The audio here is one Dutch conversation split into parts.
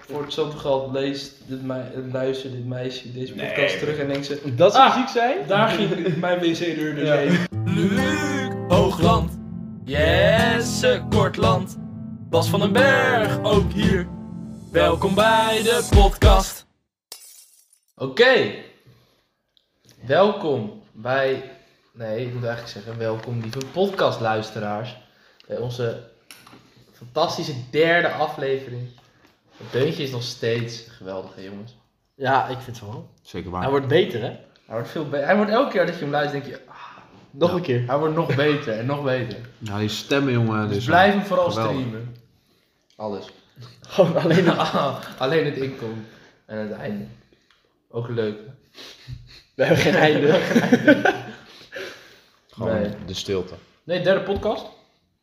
voor Portugal leest dit mei- luistert dit meisje deze Nee. podcast terug en denkt ze... Dat ze Ah, ziek zijn? Daar ging mijn wc-deur dus Ja. heen. Luc Hoogland, Jesse Kortland, Bas van den Berg ook hier. Welkom bij de podcast. Oké. Welkom bij... Nee, ik moet eigenlijk zeggen welkom lieve podcastluisteraars. Bij onze fantastische derde aflevering. Het deuntje is nog steeds geweldig hè, jongens. Ja, ik vind het wel. Zeker Hij waar. wordt beter, hè? Hij wordt, veel be- hij wordt elke keer dat je hem luistert denk je... ah, Nog Ja. een keer. hij wordt nog beter en nog beter. Nou, die stemmen, jongen. Dus Dus blijf hem vooral geweldig. streamen. Alles. Gewoon alleen nog. Alleen het inkomen en het einde. Ook leuk. We hebben geen einde. Gewoon Nee. de stilte. Nee, derde podcast.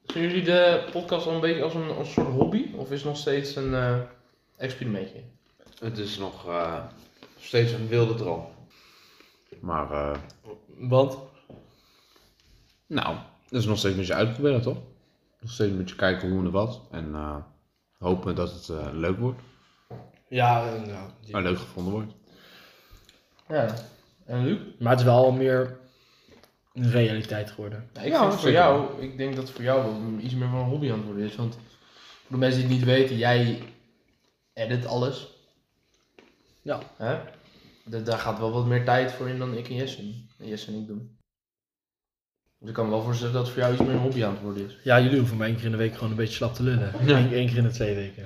Zien jullie de podcast al een beetje als een, als een soort hobby? Of is het nog steeds een eh, experimentje? Het is nog eh, steeds een wilde droom. Maar, eh, Want? nou, dat is nog steeds met je uitproberen, toch? Nog steeds met je kijken hoe en wat. En eh, hopen dat het eh, leuk wordt. Ja, eh, nou, die- En leuk gevonden wordt. Ja. En Luc? Maar het is wel meer een realiteit geworden. Ja, ik Ja, vind het voor zeker. jou, ik denk dat het voor jou wel iets meer van een hobby aan het worden is. Want voor de mensen die het niet weten, jij edit alles. Ja. Hè? Da- daar gaat wel wat meer tijd voor in dan ik en Jessen. En Jessen en ik doen. Dus ik kan me wel voorstellen dat het voor jou iets meer een hobby aan het worden is. Ja, jullie hoeven maar één keer in de week gewoon een beetje slap te lullen. Ja. Eén, één keer in de twee weken.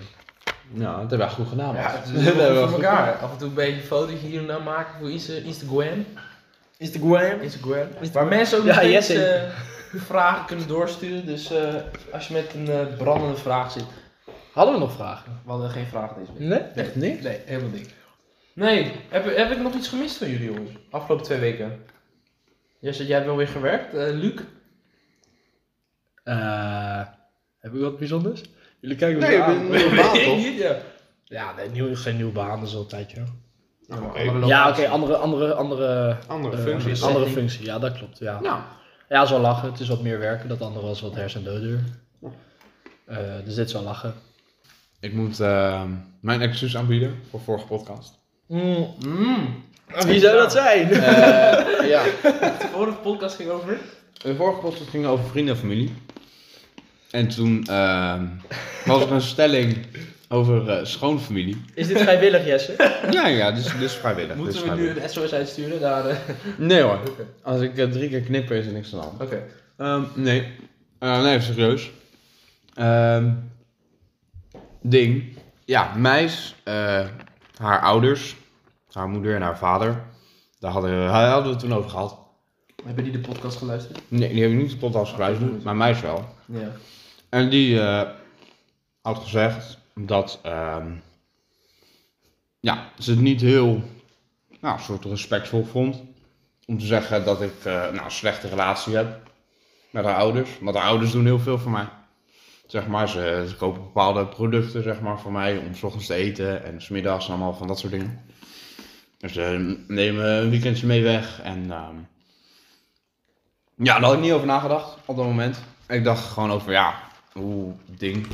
Nou, dat hebben wij goed gedaan. man. het is hebben we wel voor elkaar. Af en toe een beetje foto's hier en daar maken voor Insta- Instagram. Instagram. Instagram. Waar mensen ook nog Ja, steeds yes, eh, vragen kunnen doorsturen. Dus eh, als je met een eh, brandende vraag zit. Hadden we nog vragen? We hadden geen vraag deze week. Nee? Echt niks? Nee, helemaal niks. Nee, heb, heb ik nog iets gemist van jullie jongens? Afgelopen twee weken. Jesse, jij hebt wel weer gewerkt. Eh, Luc? Eh, heb ik wat bijzonders? Jullie kijken Nee, me ik aan. ben nieuwe baan, Ik toch? Ah, niet, ja. Ja, nee, nieuw, geen nieuwe baan, dat is altijd, joh. Nou, oké. Andere Ja, oké, locatie. andere, andere, andere, Andere eh, functies. andere Setting. functie, ja, dat klopt, ja. Nou, Ja, zo lachen, het is wat meer werken, dat andere was wat hers en doodduur. Eh, dus dit is wel lachen. ik moet eh, mijn excuus aanbieden voor vorige podcast. Mm. Wie zou dat zijn? Eh, ja. De vorige podcast ging over. De vorige podcast ging over vrienden en familie. En toen ehm, was er een stelling over eh, schoonfamilie. Is dit vrijwillig, Jesse? Ja, ja, dus, dus vrijwillig. dus Moeten we nu vrijwillig. een SOS uitsturen? Daar, eh, Nee hoor, Oké. als ik eh, drie keer knip is er niks aan de hand. Oké. Ehm, nee. Eh, nee, serieus. Ehm, ding. Ja, meis, eh, haar ouders, haar moeder en haar vader. Daar hadden, we- daar hadden we het toen over gehad. Hebben jullie de podcast geluisterd? Nee, die hebben niet de podcast geluisterd, maar meis wel. Ja. En die eh, had gezegd dat ehm, ja, ze het niet heel nou, soort respectvol vond. Om te zeggen dat ik eh, nou, een slechte relatie heb met haar ouders. Want haar ouders doen heel veel voor mij. Zeg maar, ze, ze kopen bepaalde producten zeg maar, voor mij om 's ochtends te eten en 's middags en allemaal van dat soort dingen. Dus ze nemen een weekendje mee weg en ehm, ja, daar had ik niet over nagedacht op dat moment. Ik dacht gewoon over, ja, hoe ding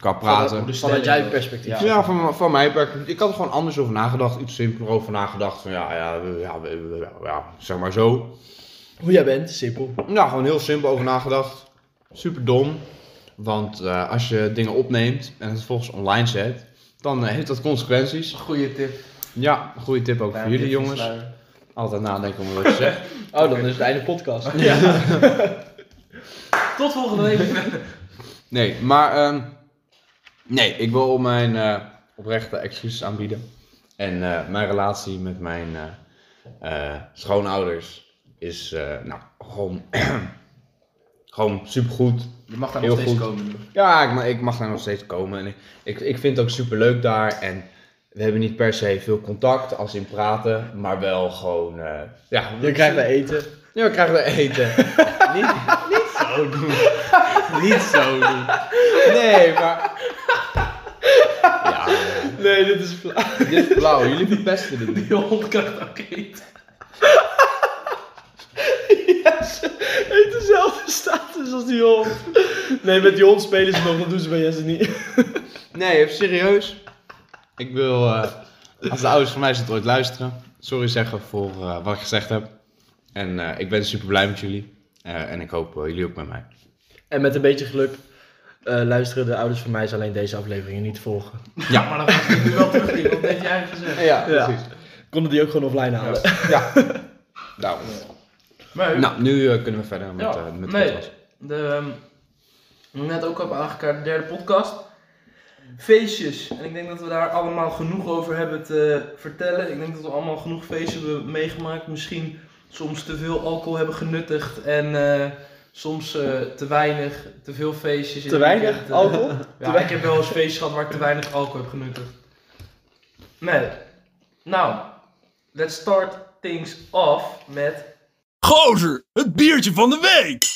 kan praten. Vanuit jouw perspectief. Ja. Ja, van, van mij. perspectief. Ik had er gewoon anders over nagedacht. Iets simpeler over nagedacht. Van ja, ja, ja, ja, ja, zeg maar zo. Hoe jij bent, simpel. Nou, gewoon heel simpel over nagedacht. Super dom. Want eh, als je dingen opneemt en het volgens online zet, dan eh, heeft dat consequenties. Goeie tip. Ja, goede tip ook voor jullie jongens. Altijd nadenken om wat je zegt. Oh, dan is het einde podcast. Tot volgende week. Nee, maar ehm, nee, ik wil mijn eh, oprechte excuses aanbieden. En eh, mijn relatie met mijn eh, eh, schoonouders is eh, nou, gewoon, gewoon supergoed. Je mag daar Heel nog steeds goed. komen. Ja, ik, ma- ik mag daar nog steeds komen. En ik, ik, ik vind het ook super leuk daar. En we hebben niet per se veel contact als in praten, maar wel gewoon. eh, ja, Je krijgt bij eten. ja, we krijgen we eten. niet, niet zo doen. niet zo doen. Nee, maar. Ja, Nee, dit is flauw. dit is blauw. Jullie verpesten dit niet. Je hond krijgt ook eten. Jesse heeft dezelfde status als die hond. Nee, met die hond spelen ze nog, dat doen ze bij Jesse niet. Nee, even serieus. Ik wil, eh, als de ouders van mij het ooit luisteren, sorry zeggen voor eh, wat ik gezegd heb. En eh, ik ben super blij met jullie. Eh, en ik hoop eh, jullie ook met mij. En met een beetje geluk eh, luisteren de ouders van mij is alleen deze afleveringen niet volgen. Ja, maar dan gaat het nu wel terug in, want dat heeft je eigen gezegd. Ja, precies. Konden die ook gewoon offline halen. Ja. Daarom. Maar, Nou, nu eh, kunnen we verder met, Ja, eh, met de nee. podcast. de, ehm, wat ik net ook heb aangekaart, de derde podcast. Feestjes. En ik denk dat we daar allemaal genoeg over hebben te vertellen. Ik denk dat we allemaal genoeg feestjes hebben meegemaakt. Misschien soms te veel alcohol hebben genuttigd en eh, soms eh, te weinig, te veel feestjes. in Te het weinig weekend. eh. alcohol? Ja, ik heb wel eens feestjes gehad waar ik te weinig alcohol heb genuttigd. Nee. Nou, let's start things off met Gozer, het biertje van de week!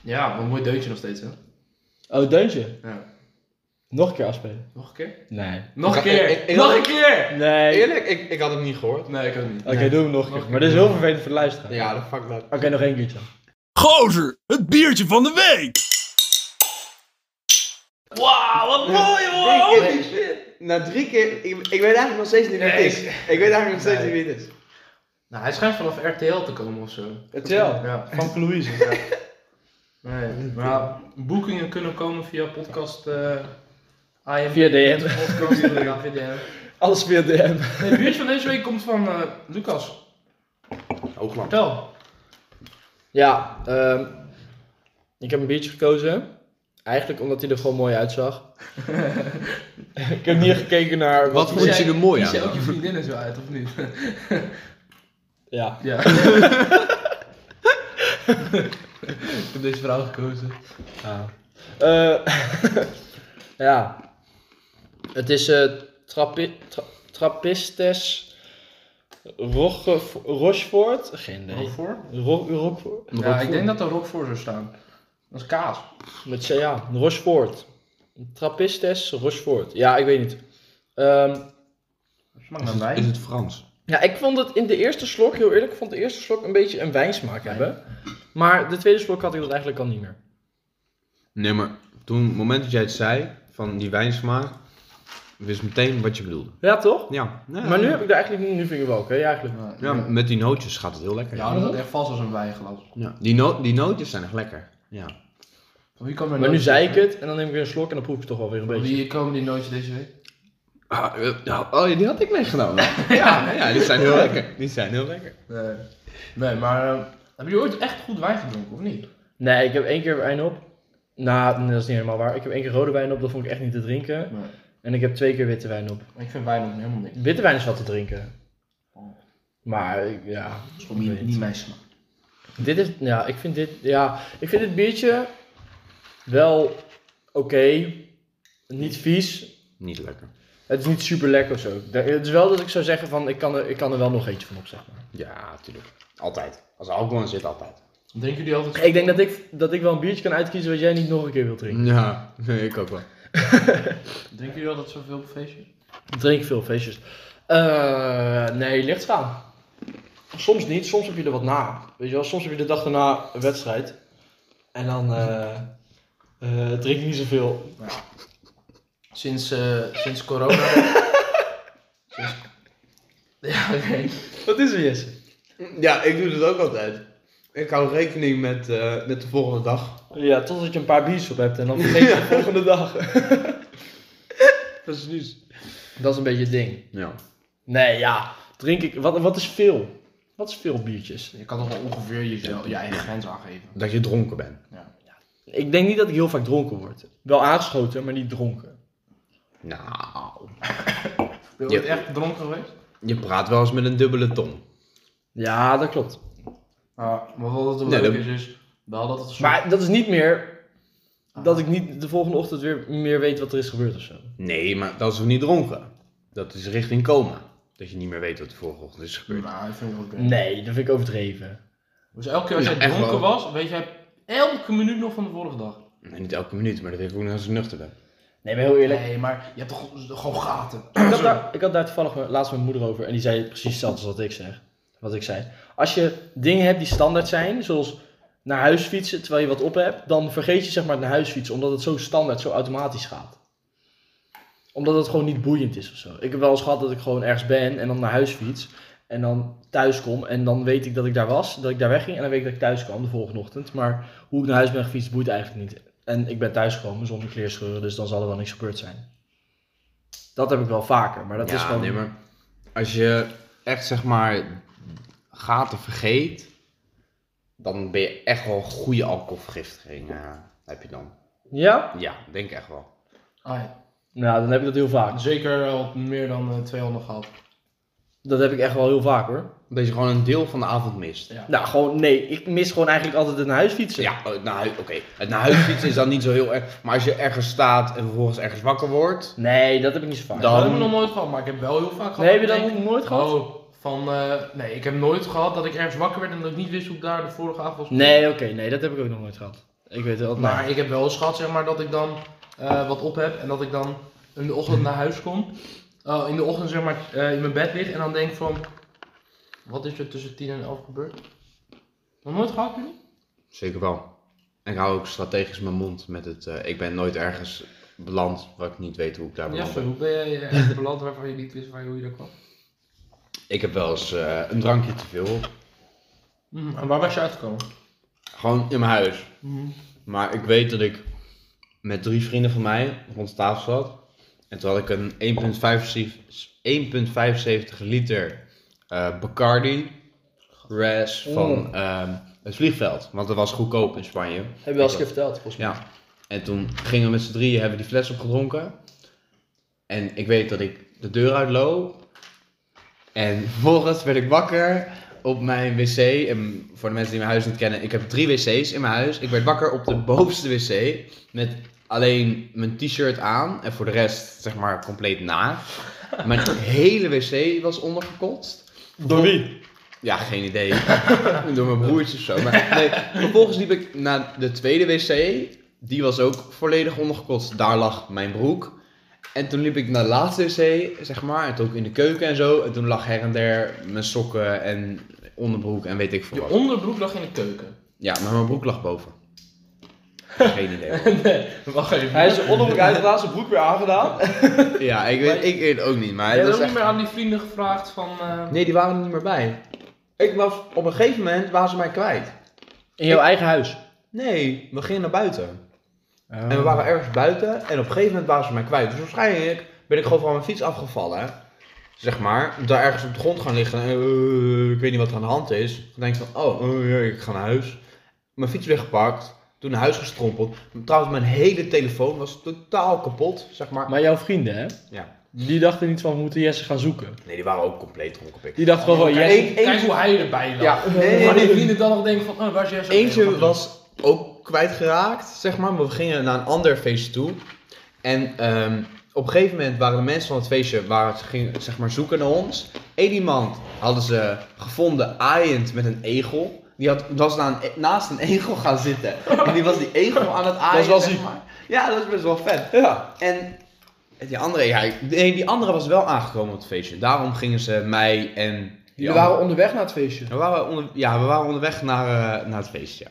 Ja, een mooi deuntje nog steeds, hè? Oh, deuntje. Ja. Nog een keer afspelen. Nog een keer? Nee. Nog een Ik- keer! ik- ik- nog een keer! Nee. Eerlijk, ik, ik had het niet gehoord. Nee, ik ook niet. Oké, doe hem nog een Nog keer. een Maar dit is keer. heel vervelend voor de luisteraar. Ja, dat fuck dat. Oké, nog één keertje. Gozer, het biertje van de week! Wauw, wat mooi, Ik- hoor! ik- Holy shit! Na drie keer, ik, ik weet eigenlijk nog steeds niet wie het Oh, Nee, is. Ik weet eigenlijk nog steeds Nee. niet wie het is. Nou, hij schijnt vanaf RTL te komen of zo. Vertel. Ja. Van Louise. Nee, maar ja, boekingen kunnen komen via podcast... eh IM. Via DM. Podcast, ja, via DM. Alles via DM. Nee, het biertje van deze week komt van eh, Lucas. Hoogland. Vertel. Ja, ehm, ik heb een biertje gekozen. Eigenlijk omdat hij er gewoon mooi uitzag. ik heb niet gekeken naar Wat hij- Vond je Kies jij- er mooi kies aan jij dan? ook je vriendinnen zo uit, of niet? Ja. Ja. ik heb deze vrouw gekozen. Eh, ja. Het is eh Trappi- Tra- Trappistes Roche- Rochefort. Geen idee. voor? Ro- Rochefort? Ja, ik denk dat er rock voor zou staan. Dat is kaas. Met CA. Rochefort. Trappistes Rochefort. Ja, ik weet niet. Ehm, Smaakt naar wijn. Is het Frans? Ja, ik vond het in de eerste slok, heel eerlijk, ik vond de eerste slok een beetje een wijnsmaak hebben. Maar de tweede slok had ik dat eigenlijk al niet meer. Nee, maar toen, het moment dat jij het zei, van die wijnsmaak, wist meteen wat je bedoelde. Ja, toch? Ja. ja. Maar nu heb ik daar eigenlijk niet, nu vind ik wel oké, eigenlijk. Ja, met die nootjes gaat het heel lekker. Ja, dat is echt vast als een wijnglas. Ja. Die, no die nootjes zijn echt lekker. Ja. Van wie kwam er Maar nu nootjes zei ik deze het en dan neem ik weer een slok en dan proef ik het toch wel weer een week? beetje. Wie komen die nootjes deze week? Ah, eh, nou, oh, die had ik meegenomen. ja, ja, die zijn heel lekker. Die zijn heel lekker. Nee. Nee, maar ehm, hebben jullie ooit echt goed wijn gedronken, of niet? Nee, ik heb één keer wijn op. Nou, nee, dat is niet helemaal waar. Ik heb één keer rode wijn op, dat vond ik echt niet te drinken. Nee. En ik heb twee keer witte wijn op. Ik vind wijn ook helemaal niks. Witte wijn is wat te drinken. Maar ik- ja, Oh. Dat is gewoon niet, niet mijn smaak. Dit is, ja, ik vind dit, ja, ik vind dit biertje wel oké. Niet vies. Niet lekker. Het is niet super lekker of zo. Daar- Het is wel dat ik zou zeggen van, ik kan er, ik kan er wel nog eentje van op, zeg maar. Ja, tuurlijk. Altijd. Als er alcohol in zit, altijd. Drinken jullie altijd zo? Ik denk dat ik, dat ik wel een biertje kan uitkiezen wat jij niet nog een keer wilt drinken. Ja, nee, ik ook wel. Drinken jullie altijd zoveel op feestjes? Ik drink veel feestjes. Eh, nee, licht gaan. Soms niet, soms heb je er wat na. Weet je wel, soms heb je de dag daarna een wedstrijd. En dan eh, eh, drink ik niet zoveel. Sinds, eh, sinds corona... sinds... Ja, oké. Wat is er, Jesse? Ja, ik doe het ook altijd. Ik hou rekening met, eh, met de volgende dag. Ja, totdat je een paar biertjes op hebt en dan vergeet je de volgende dag. Precies. Dat is een beetje het ding. Ja. Nee, ja. Drink ik... Wat, wat is veel? Wat is veel biertjes? Je kan toch wel ongeveer jezelf, je eigen grens aangeven. Dat je dronken bent. Ik denk niet dat ik heel vaak dronken word. Wel aangeschoten, maar niet dronken. Nou, Ben je Ja. ooit echt gedronken geweest? je praat wel eens met een dubbele tong. Ja, dat klopt. Ja, maar wat het Nee, leuk dat- is, is... dus? We hadden altijd een soort... Maar dat is niet meer... Dat ik niet de volgende ochtend weer meer weet wat er is gebeurd of zo. Nee, maar dat is nog niet dronken. Dat is richting coma. Dat je niet meer weet wat de vorige ochtend is gebeurd. Nou, dat vind ik ook oké. Nee, dat vind ik overdreven. Dus elke keer als jij Ja, echt dronken wel. was, weet jij elke minuut nog van de vorige dag. Nee, niet elke minuut, maar dat heeft ook nog als ik nuchter ben. Nee, maar heel eerlijk. Nee, maar je hebt toch gewoon gaten. Ik had, daar, ik had daar toevallig mijn- laatst met mijn moeder over en die zei precies hetzelfde als wat ik zeg. Wat ik zei. Als je dingen hebt die standaard zijn, zoals naar huis fietsen terwijl je wat op hebt, dan vergeet je zeg maar het naar huis fietsen, omdat het zo standaard, zo automatisch gaat. Omdat het gewoon niet boeiend is of zo. Ik heb wel eens gehad dat ik gewoon ergens ben en dan naar huis fiets. En dan thuis kom en dan weet ik dat ik daar was, dat ik daar wegging. En dan weet ik dat ik thuis kwam de volgende ochtend. Maar hoe ik naar huis ben gefietst boeit eigenlijk niet. En ik ben thuis gekomen zonder kleerscheuren, dus dan zal er wel niks gebeurd zijn. Dat heb ik wel vaker, maar dat ja, is gewoon... nee, maar als je echt zeg maar gaten vergeet, dan ben je echt wel een goede alcoholvergiftiging. eh, heb je dan? Ja? Ja, denk ik echt wel. Ah, ja. Nou, dan heb ik dat heel vaak. Zeker al meer dan eh, 200 gehad. Dat heb ik echt wel heel vaak hoor. Dat je gewoon een deel van de avond mist. Ja. Nou, gewoon nee. Ik mis gewoon eigenlijk altijd een huisfietsen. Ja, eh, naar hui- oké. Het naar huis fietsen is dan niet zo heel erg. Maar als je ergens staat en vervolgens ergens wakker wordt. Nee, dat heb ik niet zo vaak. Dan- Dat heb ik nog nooit gehad, maar ik heb wel heel vaak gehad. nee, heb je dat dat ik denk, nog nooit gehad? Oh, van, eh, nee, ik heb nooit gehad dat ik ergens wakker werd en dat ik niet wist hoe ik daar de vorige avond was. Nee, oké. nee, dat heb ik ook nog nooit gehad. Ik weet wel. Maar ik heb wel eens gehad, zeg maar, dat ik dan eh, wat op heb en dat ik dan in de ochtend naar huis kom. Oh, in de ochtend, zeg maar, eh, in mijn bed lig en dan denk van, wat is er tussen 10 en 11 gebeurd? Nog nooit gehad, jullie? Zeker wel. En ik hou ook strategisch mijn mond met het. eh, ik ben nooit ergens beland waar ik niet weet hoe ik daar Ja, beland sorry, ben. hoe ben je ergens beland waarvan je niet wist waar, hoe je daar kwam? Ik heb wel eens eh, een drankje te veel. Mm, en waar was je uitgekomen? Gewoon in mijn huis. Maar ik weet dat ik met drie vrienden van mij rond de tafel zat. En toen had ik een 1,75 liter eh, Bacardi res van ehm, het vliegveld. Want dat was goedkoop in Spanje. Heb je wel eens een keer verteld, volgens mij. Ja. En toen gingen we met z'n drieën, hebben we die fles opgedronken. En ik weet dat ik de deur uitloop. En vervolgens werd ik wakker op mijn wc. En voor de mensen die mijn huis niet kennen, ik heb drie wc's in mijn huis. Ik werd wakker op de bovenste wc met alleen mijn t-shirt aan. En voor de rest, zeg maar, compleet naakt. Mijn hele wc was ondergekotst. Door wie? Ja, geen idee. Door mijn broertje of zo. Maar nee, vervolgens liep ik naar de tweede wc. Die was ook volledig ondergekotst. Daar lag mijn broek. En toen liep ik naar de laatste wc, zeg maar. En toen ook in de keuken en zo. En toen lag her en der mijn sokken en onderbroek en weet ik veel Je wat. onderbroek lag in de keuken. Ja, maar mijn broek lag boven. Geen idee. hoor. Wacht even. Hij is zijn onderbroek uitgedaan, zijn broek weer aangedaan. Ja, ik weet, ik weet het ook niet. Jij Maar dat hebt is ook echt- niet meer aan die vrienden gevraagd van... eh, Nee, die waren er niet meer bij. Ik was, op een gegeven moment waren ze mij kwijt. In jouw eigen huis. Nee, we gingen naar buiten. En Oh. we waren ergens buiten en op een gegeven moment waren ze mij kwijt. Dus waarschijnlijk ben ik gewoon van mijn fiets afgevallen. Zeg maar, daar ergens op de grond gaan liggen. En, eh, ik weet niet wat er aan de hand is. Dan denk ik van, oh, eh, ja, ik ga naar huis. Mijn fiets weggepakt, toen naar huis gestrompeld. Trouwens, mijn hele telefoon was totaal kapot, zeg maar. Maar jouw vrienden, hè? Ja. Die dachten niet van, we moeten Jesse gaan zoeken. Nee, die waren ook compleet dronken. pik. Die dachten gewoon van, kijk, Jesse... één- kijk één- hoe hij erbij lag. Ja, nee, nee, Maar die nee. vrienden dan nog denken van, oh, waar is Jesse? Eentje was ook kwijtgeraakt, zeg maar. Maar we gingen naar een ander feestje toe. En ehm, op een gegeven moment waren de mensen van het feestje waar ze gingen, zeg maar, zoeken naar ons. Eén iemand hadden ze gevonden aaiend met een egel. Die had, was na een, e-, naast een egel gaan zitten. En die was die egel aan het aaien. wel zeg ziek. maar. Ja, dat is best wel vet. Ja. En die andere, ja, nee, die andere was wel aangekomen op het feestje. Daarom gingen ze mij en... die Die andere- waren onderweg naar het feestje. we waren, onder, ja, we waren onderweg naar, eh, naar het feestje. ja.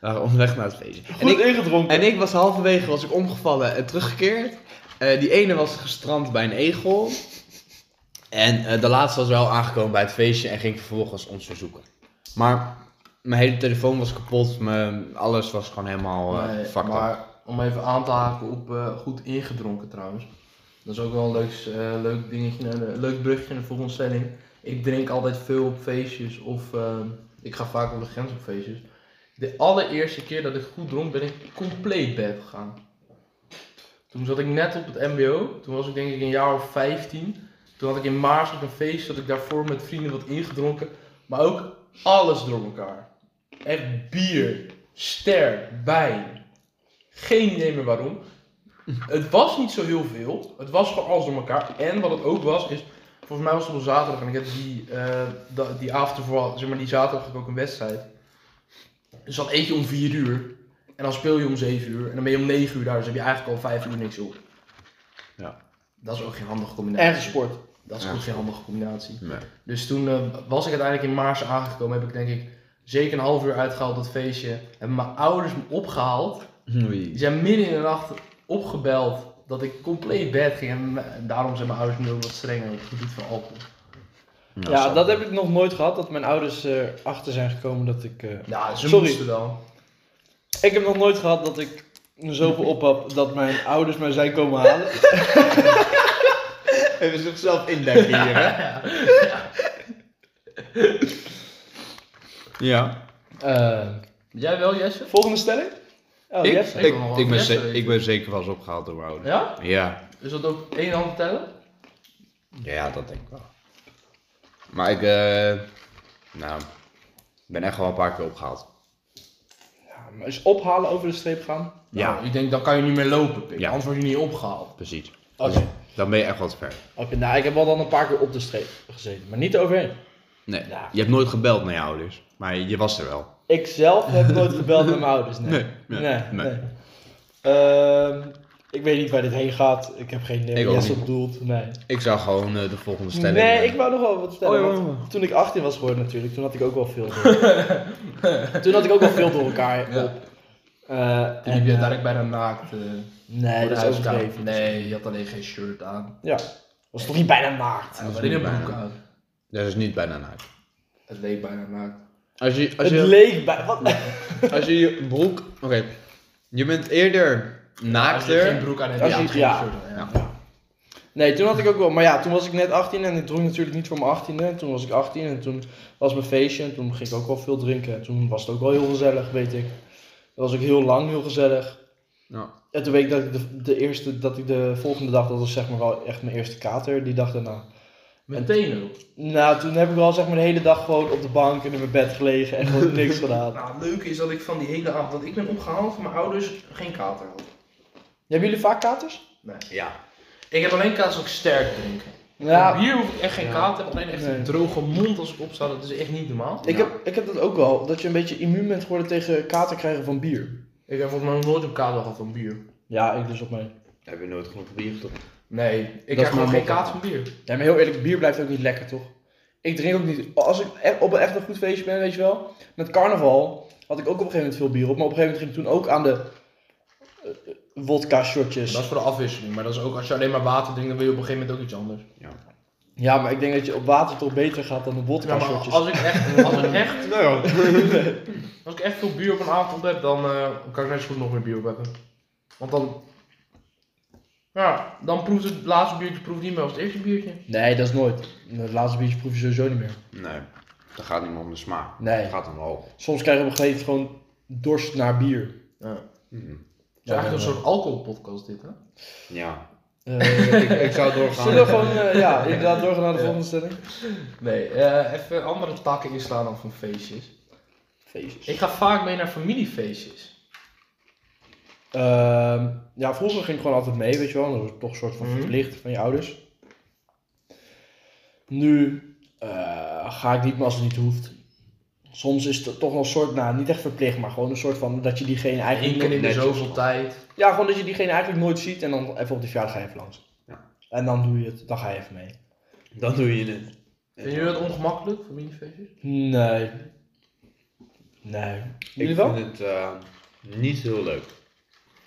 We waren onderweg naar het feestje. En En ik, ingedronken. en ik was halverwege was ik omgevallen en teruggekeerd. Eh, die ene was gestrand bij een egel. En eh, de laatste was wel aangekomen bij het feestje en ging vervolgens ons verzoeken. Maar mijn hele telefoon was kapot. Mijn, alles was gewoon helemaal eh Nee, fucked up. maar om even aan te haken op eh, goed ingedronken trouwens. Dat is ook wel een leuk, leuk dingetje, naar de- leuk brugje naar de volgende stelling. Ik drink altijd veel op feestjes of ehm, ik ga vaak op de grens op feestjes. De allereerste keer dat ik goed dronk ben ik compleet bed gegaan. Toen zat ik net op het mbo, toen was ik denk ik een jaar of 15. Toen had ik in Maars op een feest, zat ik daarvoor met vrienden wat ingedronken. Maar ook alles door elkaar. Echt bier, ster, wijn. Geen idee meer waarom. Het was niet zo heel veel. Het was gewoon alles door elkaar. En wat het ook was, is. Volgens mij was het op zaterdag. En ik heb die, eh, da- die avond ervoor, zeg maar die zaterdag, had ik ook een wedstrijd. Dus dan eet je om 4 uur. En dan speel je om 7 uur. En dan ben je om 9 uur daar. Dus heb je eigenlijk al 5 uur niks op. Ja. Dat is ook geen handige combinatie. Ergens sport. Dat is Ja. goed geen handige combinatie. Nee. Dus toen eh, was ik uiteindelijk in Maars aangekomen. Heb ik denk ik zeker een half uur uitgehaald dat feestje. Hebben mijn ouders me opgehaald. Die Oei. zijn midden in de nacht opgebeld dat ik compleet bed ging. En m- daarom zijn mijn ouders nu ook wat strenger op het gebied van alcohol. Ja, dat heb ik nog nooit gehad, dat mijn ouders eh, achter zijn gekomen dat ik... eh, Ja, ze Sorry. moesten wel. ik heb nog nooit gehad dat ik zoveel op heb dat mijn ouders mij zijn komen halen. Even zichzelf indekken hier, hè? Ja. Eh, Jij wel, Jesse? volgende stelling? Oh, ik, Jesse. ik, Ik wil nog ik wel ben Jesse ze- weten. ik ben zeker wel eens opgehaald door mijn ouders. Ja? Ja. Is dat ook één hand tellen? Ja, dat denk ik wel. Maar ik, eh, nou, ik ben echt wel een paar keer opgehaald. Ja, maar is ophalen over de streep gaan? Ja. Nou, ik denk, dan kan je niet meer lopen, pik. Ja. Anders word je niet opgehaald. Precies. Dus Oké. Dan ben je echt wat ver. Oké, nou, ik heb wel dan een paar keer op de streep gezeten, maar niet overheen. Nee. Ja. Je hebt nooit gebeld naar je ouders, maar je was er wel. Ik zelf heb nooit gebeld naar mijn ouders, nee. Nee, Nee, nee, nee. nee. Ehm, ik weet niet waar dit heen gaat. Ik heb geen idee Ik wat ook Jesse niet. bedoelt. Nee. Ik zou gewoon eh, de volgende stelling. Nee, eh, ik wou nog wel wat vertellen. Oh, ja, want ja, ja. Toen ik 18 was geworden natuurlijk, toen had ik ook wel veel door. toen had ik ook wel veel door elkaar Ja. op. Eh, Toen en, heb je eh, uiteindelijk bijna naakt. eh, Nee, voor de dat is huiskamer. overdreven. Nee, je had alleen geen shirt aan. Ja. Was toch niet bijna naakt? Hij had is alleen een niet broek bijna. aan. Dat is niet bijna naakt. Het leek bijna naakt. Als je, als Het je, leek bij... Wat? als je, je broek. Oké. Je bent eerder Als je geen naakter. broek aan hebt, Als je je- had geen ja. shirt aan. Ja. Nee, toen had ik ook wel. Maar ja, toen was ik net 18 en ik dronk natuurlijk niet voor mijn 18e. En toen was ik 18 en toen was mijn feestje en toen ging ik ook wel veel drinken. En toen was het ook wel heel gezellig, weet ik. Dat was ook heel lang heel gezellig. Nou, En toen weet ik dat ik de, de eerste, dat ik de volgende dag, dat was zeg maar wel echt mijn eerste kater, die dag daarna. Meteen ook. Nou, toen heb ik wel zeg maar de hele dag gewoon op de bank en in mijn bed gelegen en gewoon niks gedaan. Nou, het leuke is dat ik van die hele avond dat ik ben opgehaald van mijn ouders geen kater had. Hebben jullie vaak katers? Nee. ja. Ik heb alleen kaas als ik sterk drink. Ja, Hier hoef ik echt geen Ja. kater, alleen echt Nee. een droge mond als ik opsta. Dat is echt niet normaal. ik heb, ik heb dat ook wel. Dat je een beetje immuun bent geworden tegen kater krijgen van bier. Ik heb volgens mij nog nooit een kater gehad van bier. Ja, ik dus op mij. Heb je nooit genoeg bier gedronken? Nee, ik is heb gewoon mijn geen motto. kater van bier. Ja, maar heel eerlijk, bier blijft ook niet lekker, toch? Ik drink ook niet. Als ik echt op een echt een goed feestje ben, weet je wel. Met carnaval had ik ook op een gegeven moment veel bier op. Maar op een gegeven moment ging ik toen ook aan de eh, eh, wodka-shotjes. Dat is voor de afwisseling, maar dat is ook als je alleen maar water drinkt, dan wil je op een gegeven moment ook iets anders. Ja, maar ik denk dat je op water toch beter gaat dan op Ja, maar wodka-shotjes. als ik, echt, als, ik echt, Nou ja. als ik echt veel bier op een avond heb, dan eh, kan ik net zo goed nog meer bier op hebben. Want dan, ja, dan proeft het laatste biertje proeft niet meer als het eerste biertje. Nee, dat is nooit. Het laatste biertje proef je sowieso niet meer. Nee. Dat gaat niet meer om de smaak. Nee. Dat gaat omhoog. Soms krijg je op een gegeven moment gewoon dorst naar bier. Ja. Hm. Het is eigenlijk dan, een soort alcoholpodcast dit, hè? Ja. eh, eh, ik, ik zou doorgaan. Zullen we gewoon, eh, ja, inderdaad doorgaan naar de volgende stelling? Nee, eh, even andere takken inslaan dan van feestjes. Feestjes. Ik ga vaak mee naar familiefeestjes. Ehm, ja, vroeger ging ik gewoon altijd mee, weet je wel. Dat was toch een soort van Mhm. verplicht van je ouders. Nu eh, ga ik niet meer als het niet hoeft. Soms is het toch wel een soort, nou niet echt verplicht, maar gewoon een soort van dat je diegene Eén eigenlijk... keer in de netjes. zoveel tijd. Ja, gewoon dat je diegene eigenlijk nooit ziet en dan even op de verjaardag ga je even langs. Ja. En dan doe je het, dan ga je even mee. Dan doe je het. Vind je dat ongemakkelijk, familiefeestjes? Nee. Nee. Jullie Ik wel? vind het eh, niet heel leuk.